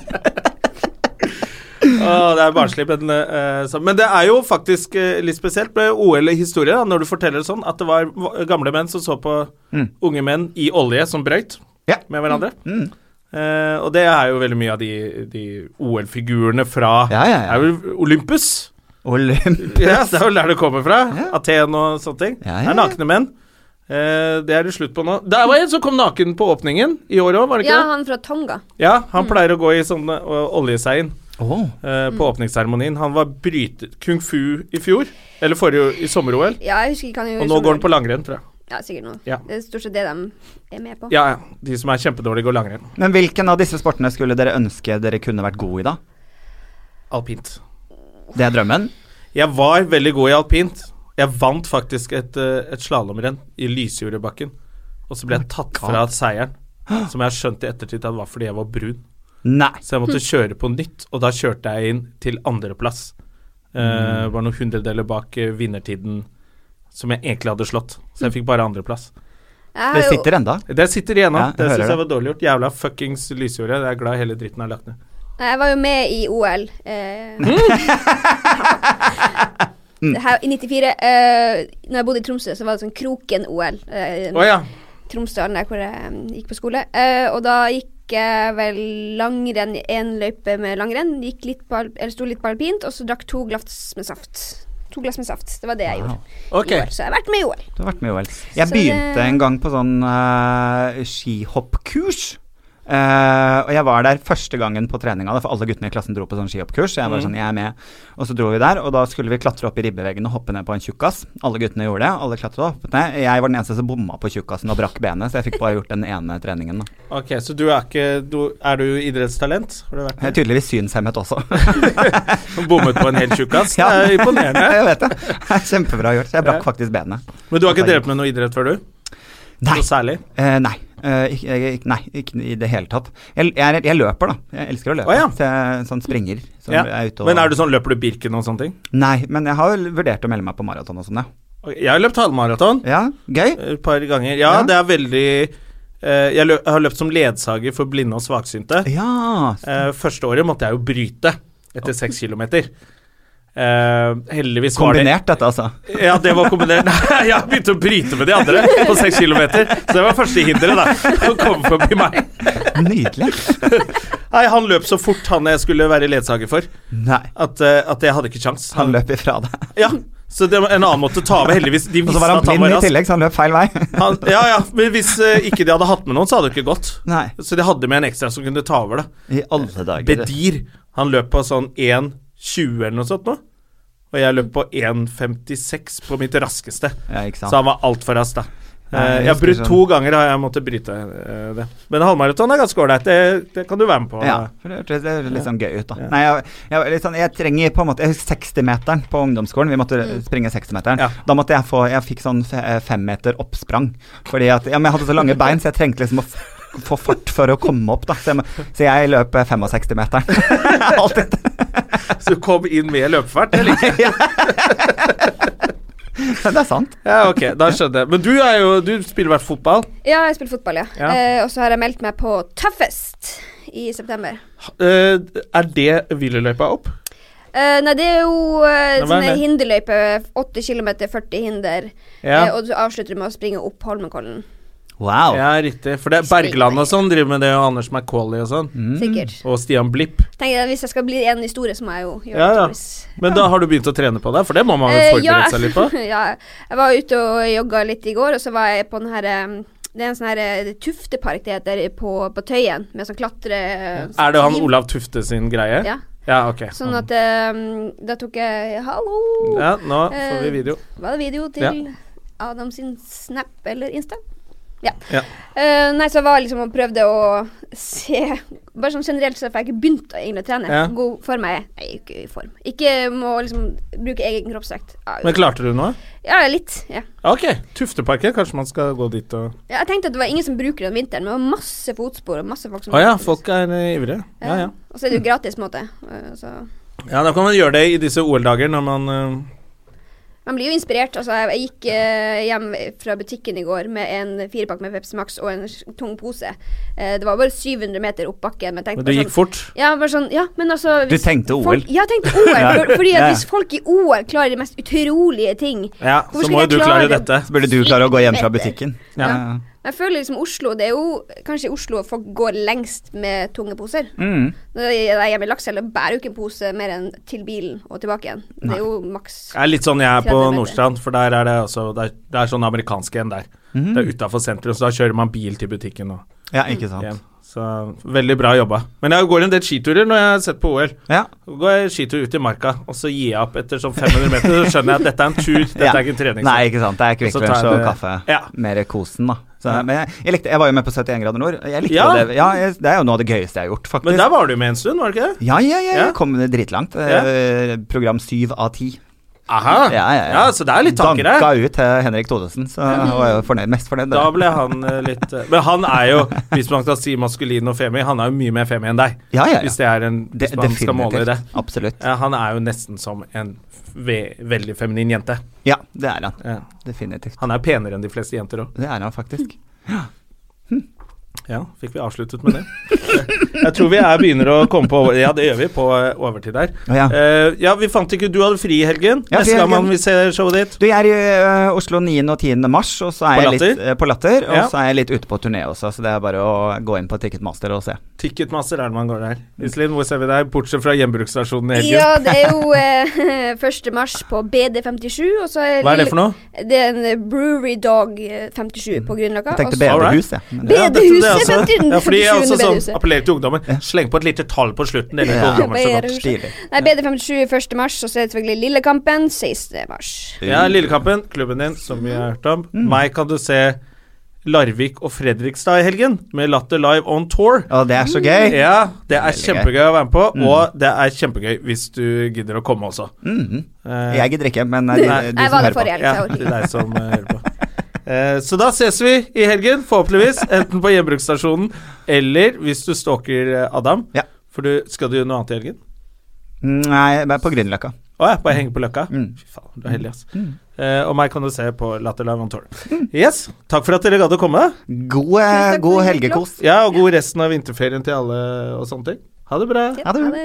[SPEAKER 1] Åh, det er barnslig, men, eh, så- men det er jo faktisk eh, litt spesielt med OL-historie, da, når du forteller det sånn, at det var v- gamle menn som så på unge menn i olje som brøyt
[SPEAKER 2] Mm. Ja. Mm.
[SPEAKER 1] med hverandre. Eh, og det er jo veldig mye av de, de OL-figurene fra
[SPEAKER 2] Ja, ja,
[SPEAKER 1] Det
[SPEAKER 2] ja.
[SPEAKER 1] er vel Olympus.
[SPEAKER 2] Olymp.
[SPEAKER 1] Ja, det er vel der det kommer fra. Aten og sånne ting.
[SPEAKER 2] Ja,
[SPEAKER 1] Det
[SPEAKER 2] ja,
[SPEAKER 1] er
[SPEAKER 2] ja.
[SPEAKER 1] nakne menn. Eh, det er det slutt på nå. Der var en som kom naken på åpningen i år òg, var det ikke
[SPEAKER 3] Ja,
[SPEAKER 1] det?
[SPEAKER 3] han fra Tonga.
[SPEAKER 1] Ja, han pleier å gå i sånn eh, oljeseien
[SPEAKER 2] Åh.
[SPEAKER 1] eh, på åpningsseremonien. Han var bryter kung fu i fjor, eller forrige i sommer-OL,
[SPEAKER 3] Ja, jeg husker ikke han
[SPEAKER 1] og nå går han på langrenn, tror jeg.
[SPEAKER 3] Ja, sikkert noe.
[SPEAKER 1] Ja.
[SPEAKER 3] Det er stort sett det de er med på.
[SPEAKER 1] Ja, ja. De som er kjempedårlige, går langrenn.
[SPEAKER 2] Men hvilken av disse sportene skulle dere ønske dere kunne vært gode i, da?
[SPEAKER 1] Alpint.
[SPEAKER 2] Det er drømmen?
[SPEAKER 1] Jeg var veldig god i alpint. Jeg vant faktisk et, eh, et slalåmrenn i Lysjordebakken. Og så ble jeg tatt fra seieren, som jeg har skjønt i ettertid at var fordi jeg var brun.
[SPEAKER 2] Nei.
[SPEAKER 1] Så jeg måtte kjøre på nytt, og da kjørte jeg inn til andreplass. Uh, var noen hundredeler bak eh, vinnertiden som jeg egentlig hadde slått. Så jeg fikk bare andreplass.
[SPEAKER 3] Jeg har
[SPEAKER 2] Det
[SPEAKER 3] jo-
[SPEAKER 2] sitter enda.
[SPEAKER 1] Det sitter igjen nå.
[SPEAKER 2] Ja, jeg
[SPEAKER 1] det
[SPEAKER 2] hører
[SPEAKER 1] syns jeg
[SPEAKER 2] det.
[SPEAKER 1] var dårlig gjort. Jævla fuckings lysjordet. Jeg er glad hele dritten er lagt ned.
[SPEAKER 3] Jeg var jo med i OL. Eh,
[SPEAKER 1] Mm.
[SPEAKER 3] her, I 94. Eh, når jeg bodde i Tromsø, så var det sånn Kroken-OL. Eh,
[SPEAKER 1] Å ja.
[SPEAKER 3] Tromsdalen, der hvor jeg mm, gikk på skole. Eh, og da gikk jeg vel langrenn i én løype med langrenn. Gikk litt på, alp- eller sto litt på alpint, og så drakk to glass med saft. To glass med saft. Det var det jeg gjorde.
[SPEAKER 1] Ok.
[SPEAKER 3] I år, så jeg har vært med i OL.
[SPEAKER 2] Du har vært med i OL. Jeg
[SPEAKER 3] Så
[SPEAKER 2] begynte
[SPEAKER 3] det-
[SPEAKER 2] en gang på sånn eh, skihoppkurs. Eh, og jeg var der første gangen på treninga, da, for alle guttene i klassen dro på sånn skihoppkurs. Så jeg
[SPEAKER 3] Mm.
[SPEAKER 2] var sånn, jeg er med. Og så dro vi der, og da skulle vi klatre opp i ribbeveggen og hoppe ned på en tjukkas. Alle guttene gjorde det. Alle klatra opp ned. Jeg var den eneste som bomma på tjukkasen og brakk benet, så jeg fikk bare gjort den ene treningen. Da.
[SPEAKER 1] Ok, Så du er ikke du, Er du idrettstalent? Har du vært
[SPEAKER 2] Jeg er tydeligvis synshemmet også.
[SPEAKER 1] Bommet på en hel tjukkas?
[SPEAKER 2] Ja.
[SPEAKER 1] Det er Imponerende.
[SPEAKER 2] jeg vet det. det er kjempebra gjort. Så jeg brakk faktisk benet.
[SPEAKER 1] Men du har ikke drevet med noe idrett før, du?
[SPEAKER 2] Nei.
[SPEAKER 1] Noe særlig?
[SPEAKER 2] Eh, nei. Eh, ikke, jeg- ikke- nei, ikke i det hele tatt. Jeg, jeg, er- jeg løper, da. Jeg elsker å løpe.
[SPEAKER 1] Å, ja.
[SPEAKER 2] Så jeg, sånn springer. Som
[SPEAKER 1] Ja.
[SPEAKER 2] er ute og,
[SPEAKER 1] Men er du sånn løper du Birken og sånne ting?
[SPEAKER 2] Nei, men jeg har jo vurdert å melde meg på maraton og sånn, ja.
[SPEAKER 1] Ok, Jeg har løpt halvmaraton.
[SPEAKER 2] ja. Gøy.
[SPEAKER 1] Et par ganger. Ja,
[SPEAKER 2] Ja.
[SPEAKER 1] det er veldig eh, jeg, lø jeg har løpt som ledsager for blinde og svaksynte.
[SPEAKER 2] Ja.
[SPEAKER 1] Eh, første året måtte jeg jo bryte etter seks kilometer. Eh, heldigvis var det
[SPEAKER 2] Kombinert dette, altså.
[SPEAKER 1] Ja, det var kombinert. Nei, jeg begynte å bryte med de andre på seks kilometer. Så det var første hinderet, da. Å komme forbi meg.
[SPEAKER 2] Nydelig.
[SPEAKER 1] Nei, han løp så fort, han jeg skulle være ledsager for,
[SPEAKER 2] Nei.
[SPEAKER 1] at, eh, at jeg hadde ikke kjangs.
[SPEAKER 2] Han løp ifra deg.
[SPEAKER 1] Ja, så det var en annen måte å ta over, heldigvis. De
[SPEAKER 2] Og
[SPEAKER 1] visste
[SPEAKER 2] så var han
[SPEAKER 1] at han
[SPEAKER 2] blind
[SPEAKER 1] var
[SPEAKER 2] i
[SPEAKER 1] rask.
[SPEAKER 2] tillegg, så han løp feil vei.
[SPEAKER 1] Han, ja, ja, men hvis eh, ikke de hadde hatt med noen, så hadde det ikke gått.
[SPEAKER 2] Nei.
[SPEAKER 1] Så de hadde med en ekstra som kunne ta over, da.
[SPEAKER 2] I alle dager. du.
[SPEAKER 1] Bedir. Han løp på sånn 1,20 eller noe sånt nå. Og jeg løp på 1,56 på mitt raskeste.
[SPEAKER 2] Ja, ikke sant.
[SPEAKER 1] Så han var altfor rask, da.
[SPEAKER 2] Nei,
[SPEAKER 1] Eh,
[SPEAKER 2] jeg
[SPEAKER 1] jeg har
[SPEAKER 2] husker
[SPEAKER 1] brutt
[SPEAKER 2] sånn.
[SPEAKER 1] to ganger har jeg måttet bryte eh, det. Men halvmaraton er ganske åleit. Det, det kan du være med på.
[SPEAKER 2] Ja, for det hørtes det hørtes litt sånn gøy ut, da. Nei, jeg, jeg, var litt sånn, jeg trenger på en måte Jeg husker 60-meteren på ungdomsskolen. Vi måtte springe 60-meteren.
[SPEAKER 1] Ja.
[SPEAKER 2] Da måtte jeg få Jeg fikk sånn fe- eh, femmeter oppsprang. Fordi at ja, men jeg hadde så lange bein, så jeg trengte liksom å f få fart for å komme opp, da. Så jeg, må- så jeg løp eh, 65-meteren. Alltid.
[SPEAKER 1] Så kom inn med løpefart. Det liker jeg.
[SPEAKER 2] Det er sant.
[SPEAKER 1] Ja, ok, da skjønner jeg. Men du, er jo, du spiller i hvert fall fotball.
[SPEAKER 3] Ja, jeg spiller fotball, ja.
[SPEAKER 1] Ja.
[SPEAKER 3] Eh, og så har jeg meldt meg på Tøffest i september.
[SPEAKER 1] Eh, er det hvileløypa opp?
[SPEAKER 3] Eh, nei, det er jo eh,
[SPEAKER 1] Nei, hva er
[SPEAKER 3] sånne
[SPEAKER 1] det?
[SPEAKER 3] hinderløyper. 8 km, 40 hinder. Eh, og du avslutter med å springe opp Holmenkollen.
[SPEAKER 2] Wow.
[SPEAKER 1] Ja, riktig. For det er Bergland og sånn driver med det, og Anders McCauley og sånn.
[SPEAKER 2] Mm.
[SPEAKER 3] Sikkert.
[SPEAKER 1] Og Stian Blipp.
[SPEAKER 3] Tenker jeg, Hvis jeg skal bli en i store, så må jeg jo gjøre
[SPEAKER 1] Ja,
[SPEAKER 3] det.
[SPEAKER 1] ja.
[SPEAKER 3] tydeligvis.
[SPEAKER 1] Men da har du begynt å trene på det, for det må man jo
[SPEAKER 3] Eh,
[SPEAKER 1] forberede
[SPEAKER 3] ja.
[SPEAKER 1] seg litt på.
[SPEAKER 3] ja. Jeg var ute og jogga litt i går, og så var jeg på den her eh, Det er en sånn her eh, tuftepark det heter på, på Tøyen, med sånn klatre...
[SPEAKER 1] Er det han Olav Tufte sin greie?
[SPEAKER 3] Ja.
[SPEAKER 1] Ja, ok.
[SPEAKER 3] Sånn at eh, Da tok jeg Hallo!
[SPEAKER 1] Ja, nå får vi
[SPEAKER 3] Eh,
[SPEAKER 1] video.
[SPEAKER 3] Var det video til
[SPEAKER 1] Ja.
[SPEAKER 3] Adam sin Snap eller Insta? Ja.
[SPEAKER 1] Ja.
[SPEAKER 3] Eh, nei, så var jeg liksom og prøvde å se Bare sånn generelt, så får jeg ikke begynt å egentlig trene.
[SPEAKER 1] Ja.
[SPEAKER 3] God form er jeg. Nei, ikke i form. Ikke må liksom bruke egen kroppsvekt. Ja,
[SPEAKER 1] Men klarte du noe?
[SPEAKER 3] ja, litt. Ja.
[SPEAKER 1] Ok, Tufteparken. Kanskje man skal gå dit og
[SPEAKER 3] Ja, Jeg tenkte at det var ingen som bruker den vinteren, men det var masse fotspor og masse folk som
[SPEAKER 1] Å ja, folk er eh, ivrige. Ja, ja.
[SPEAKER 3] Og så er det jo gratis, på en måte. eh, Så
[SPEAKER 1] Ja, Da kan man gjøre det i disse OL-dager når man eh,
[SPEAKER 3] man blir jo inspirert. Altså, jeg, jeg gikk eh, hjem fra butikken i går med en firepakke med Pepsi Max og en s- tung pose. Eh, det var bare 700 meter opp bakken. Men, jeg tenkte
[SPEAKER 1] Men du
[SPEAKER 3] bare
[SPEAKER 1] gikk
[SPEAKER 3] sånn,
[SPEAKER 1] fort?
[SPEAKER 3] Ja, bare sånn, ja, men altså
[SPEAKER 2] Du
[SPEAKER 3] hvis
[SPEAKER 2] tenkte OL.
[SPEAKER 3] Folk, ja, jeg tenkte OL.
[SPEAKER 2] Ja.
[SPEAKER 3] for, fordi
[SPEAKER 2] Ja,
[SPEAKER 3] at
[SPEAKER 2] ja.
[SPEAKER 3] hvis folk i OL klarer de mest utrolige ting
[SPEAKER 1] Ja,
[SPEAKER 3] Hvorfor
[SPEAKER 1] så
[SPEAKER 3] skal
[SPEAKER 1] må jo
[SPEAKER 3] jeg
[SPEAKER 1] du
[SPEAKER 3] klare
[SPEAKER 1] klare
[SPEAKER 3] det?
[SPEAKER 1] dette.
[SPEAKER 2] Så burde du klare å gå hjem fra butikken.
[SPEAKER 1] Ja.
[SPEAKER 2] Ja.
[SPEAKER 3] Jeg føler liksom Oslo Det er jo kanskje i Oslo folk går lengst med tunge poser.
[SPEAKER 2] Mm.
[SPEAKER 3] Når jeg er hjemme i Lakselv, bærer jo ikke en pose mer enn til bilen og tilbake igjen. Det er jo maks
[SPEAKER 1] Det er litt sånn jeg er på
[SPEAKER 3] 30 meter.
[SPEAKER 1] Nordstrand, for der er det altså Det er, det er sånn amerikansk igjen der. Det er utafor sentrum, så da kjører man bil til butikken og
[SPEAKER 2] Ja, ikke sant.
[SPEAKER 1] hjem. Så veldig bra jobba. Men jeg går en del skiturer når jeg har sett på OL.
[SPEAKER 2] Ja.
[SPEAKER 1] Så går jeg skitur ut i marka, og så gir jeg opp etter sånn 500 meter. Så skjønner jeg at dette er en tur, dette
[SPEAKER 2] Ja.
[SPEAKER 1] er ikke en treningstur.
[SPEAKER 2] Nei, ikke sant. Det er Kvikk
[SPEAKER 1] Og så tar
[SPEAKER 2] Lunsj
[SPEAKER 1] jeg
[SPEAKER 2] og
[SPEAKER 1] det-
[SPEAKER 2] kaffe.
[SPEAKER 1] Ja.
[SPEAKER 2] Mer kosen, da. Så, men jeg, jeg, likte, jeg var jo med på 71 grader nord. Jeg likte
[SPEAKER 1] Ja.
[SPEAKER 2] det. Ja, jeg, det er jo noe av det gøyeste jeg har gjort, faktisk.
[SPEAKER 1] Men der var du med en stund, var det ikke det?
[SPEAKER 2] ja, ja, ja,
[SPEAKER 1] Ja.
[SPEAKER 2] jeg kom dritlangt. Eh, program syv av ti.
[SPEAKER 1] Aha.
[SPEAKER 2] Ja, ja, ja.
[SPEAKER 1] Så det er litt tanker her.
[SPEAKER 2] Danka ut til Henrik Thodesen, så var jeg jo fornøyd, mest fornøyd.
[SPEAKER 1] Da ble han eh, litt eh, Men han er jo, hvis man skal si maskulin og femi, han er jo mye mer femi enn deg.
[SPEAKER 2] Ja, ja, ja.
[SPEAKER 1] Hvis det er en
[SPEAKER 2] De-
[SPEAKER 1] Hvis man skal måle i det.
[SPEAKER 2] Absolutt.
[SPEAKER 1] Ja, han er jo nesten som en ve veldig feminin jente.
[SPEAKER 2] Ja, det er han.
[SPEAKER 1] Ja.
[SPEAKER 2] Definitivt.
[SPEAKER 1] Han er penere enn de fleste jenter òg.
[SPEAKER 2] Det er han faktisk.
[SPEAKER 1] Ja, fikk vi avsluttet med det. Jeg tror vi er begynner å komme på over- Ja, det gjør vi på eh, overtid der.
[SPEAKER 2] Å, ja.
[SPEAKER 1] Eh, ja, vi fant ikke Du hadde fri i helgen.
[SPEAKER 2] Ja, fri i
[SPEAKER 1] Neste gang man
[SPEAKER 2] helgen.
[SPEAKER 1] vil se showet ditt.
[SPEAKER 2] Du, jeg er i ø, Oslo 9. og 10. mars, og så
[SPEAKER 1] På
[SPEAKER 2] er jeg litt
[SPEAKER 1] Latter?
[SPEAKER 2] ø, på Latter. Og
[SPEAKER 1] Ja.
[SPEAKER 2] så er jeg litt ute på turné også, så det er bare å gå inn på Ticketmaster og se.
[SPEAKER 1] Ticketmaster er det man går der. Iselin, hvor ser vi deg? Bortsett fra gjenbruksstasjonen i helgen.
[SPEAKER 3] Ja, det er jo eh, 1. mars på BD57, og så er
[SPEAKER 1] Hva er det for noe?
[SPEAKER 3] Det er en eh, Brewery Dog eh, 57 på Grünerløkka.
[SPEAKER 2] Jeg tenkte
[SPEAKER 3] og så-
[SPEAKER 2] bedehus, jeg. Men det-
[SPEAKER 3] Be-
[SPEAKER 1] Ja, dette-
[SPEAKER 3] Bedehuset,
[SPEAKER 1] det er også-
[SPEAKER 3] vet du,
[SPEAKER 1] Ja, fordi jeg er også
[SPEAKER 3] 47.
[SPEAKER 1] sånn
[SPEAKER 3] bedehuset.
[SPEAKER 1] appellerer til ungdommen. Sleng på et lite tall på slutten. Det liker
[SPEAKER 2] Ja.
[SPEAKER 1] ungdommer så godt.
[SPEAKER 2] Stilig.
[SPEAKER 3] Nei, BD57 1. mars, og så er det selvfølgelig Lillekampen 16. mars.
[SPEAKER 1] Ja, Lillekampen, klubben din, som vi har hørt om.
[SPEAKER 2] Mm.
[SPEAKER 1] Meg kan du se Larvik og Fredrikstad i helgen, med Latter Live on tour.
[SPEAKER 2] Å, det er så gøy!
[SPEAKER 1] Ja, det er
[SPEAKER 2] Veldig gøy. Mm.
[SPEAKER 1] kjempegøy å være med på, og det er kjempegøy hvis du gidder å komme også.
[SPEAKER 2] Mhm.
[SPEAKER 1] Eh,
[SPEAKER 2] Jeg gidder ikke, men ø, de,
[SPEAKER 1] Nei.
[SPEAKER 2] de som
[SPEAKER 3] Jeg var
[SPEAKER 2] hører
[SPEAKER 3] der
[SPEAKER 2] på.
[SPEAKER 3] forrige helg, så jeg
[SPEAKER 1] Ja,
[SPEAKER 3] orker
[SPEAKER 1] til
[SPEAKER 3] ikke.
[SPEAKER 1] deg som eh, hører på. Eh, så da ses vi i helgen, forhåpentligvis. Enten på gjenbruksstasjonen eller hvis du stalker eh, Adam.
[SPEAKER 2] Ja.
[SPEAKER 1] For du, skal du gjøre noe annet i helgen?
[SPEAKER 2] Nei, men på Grünerløkka.
[SPEAKER 1] Å ja, bare henge på løkka?
[SPEAKER 2] Mm.
[SPEAKER 1] Fy faen, du er heldig, ass. Eh, og meg kan du se på Latter Live on Tour. Yes, takk for at dere gadd å komme.
[SPEAKER 2] God, ø, god helgekos.
[SPEAKER 1] Ja, og god resten av vinterferien til alle og sånne ting. Ha det bra.
[SPEAKER 2] Ha det.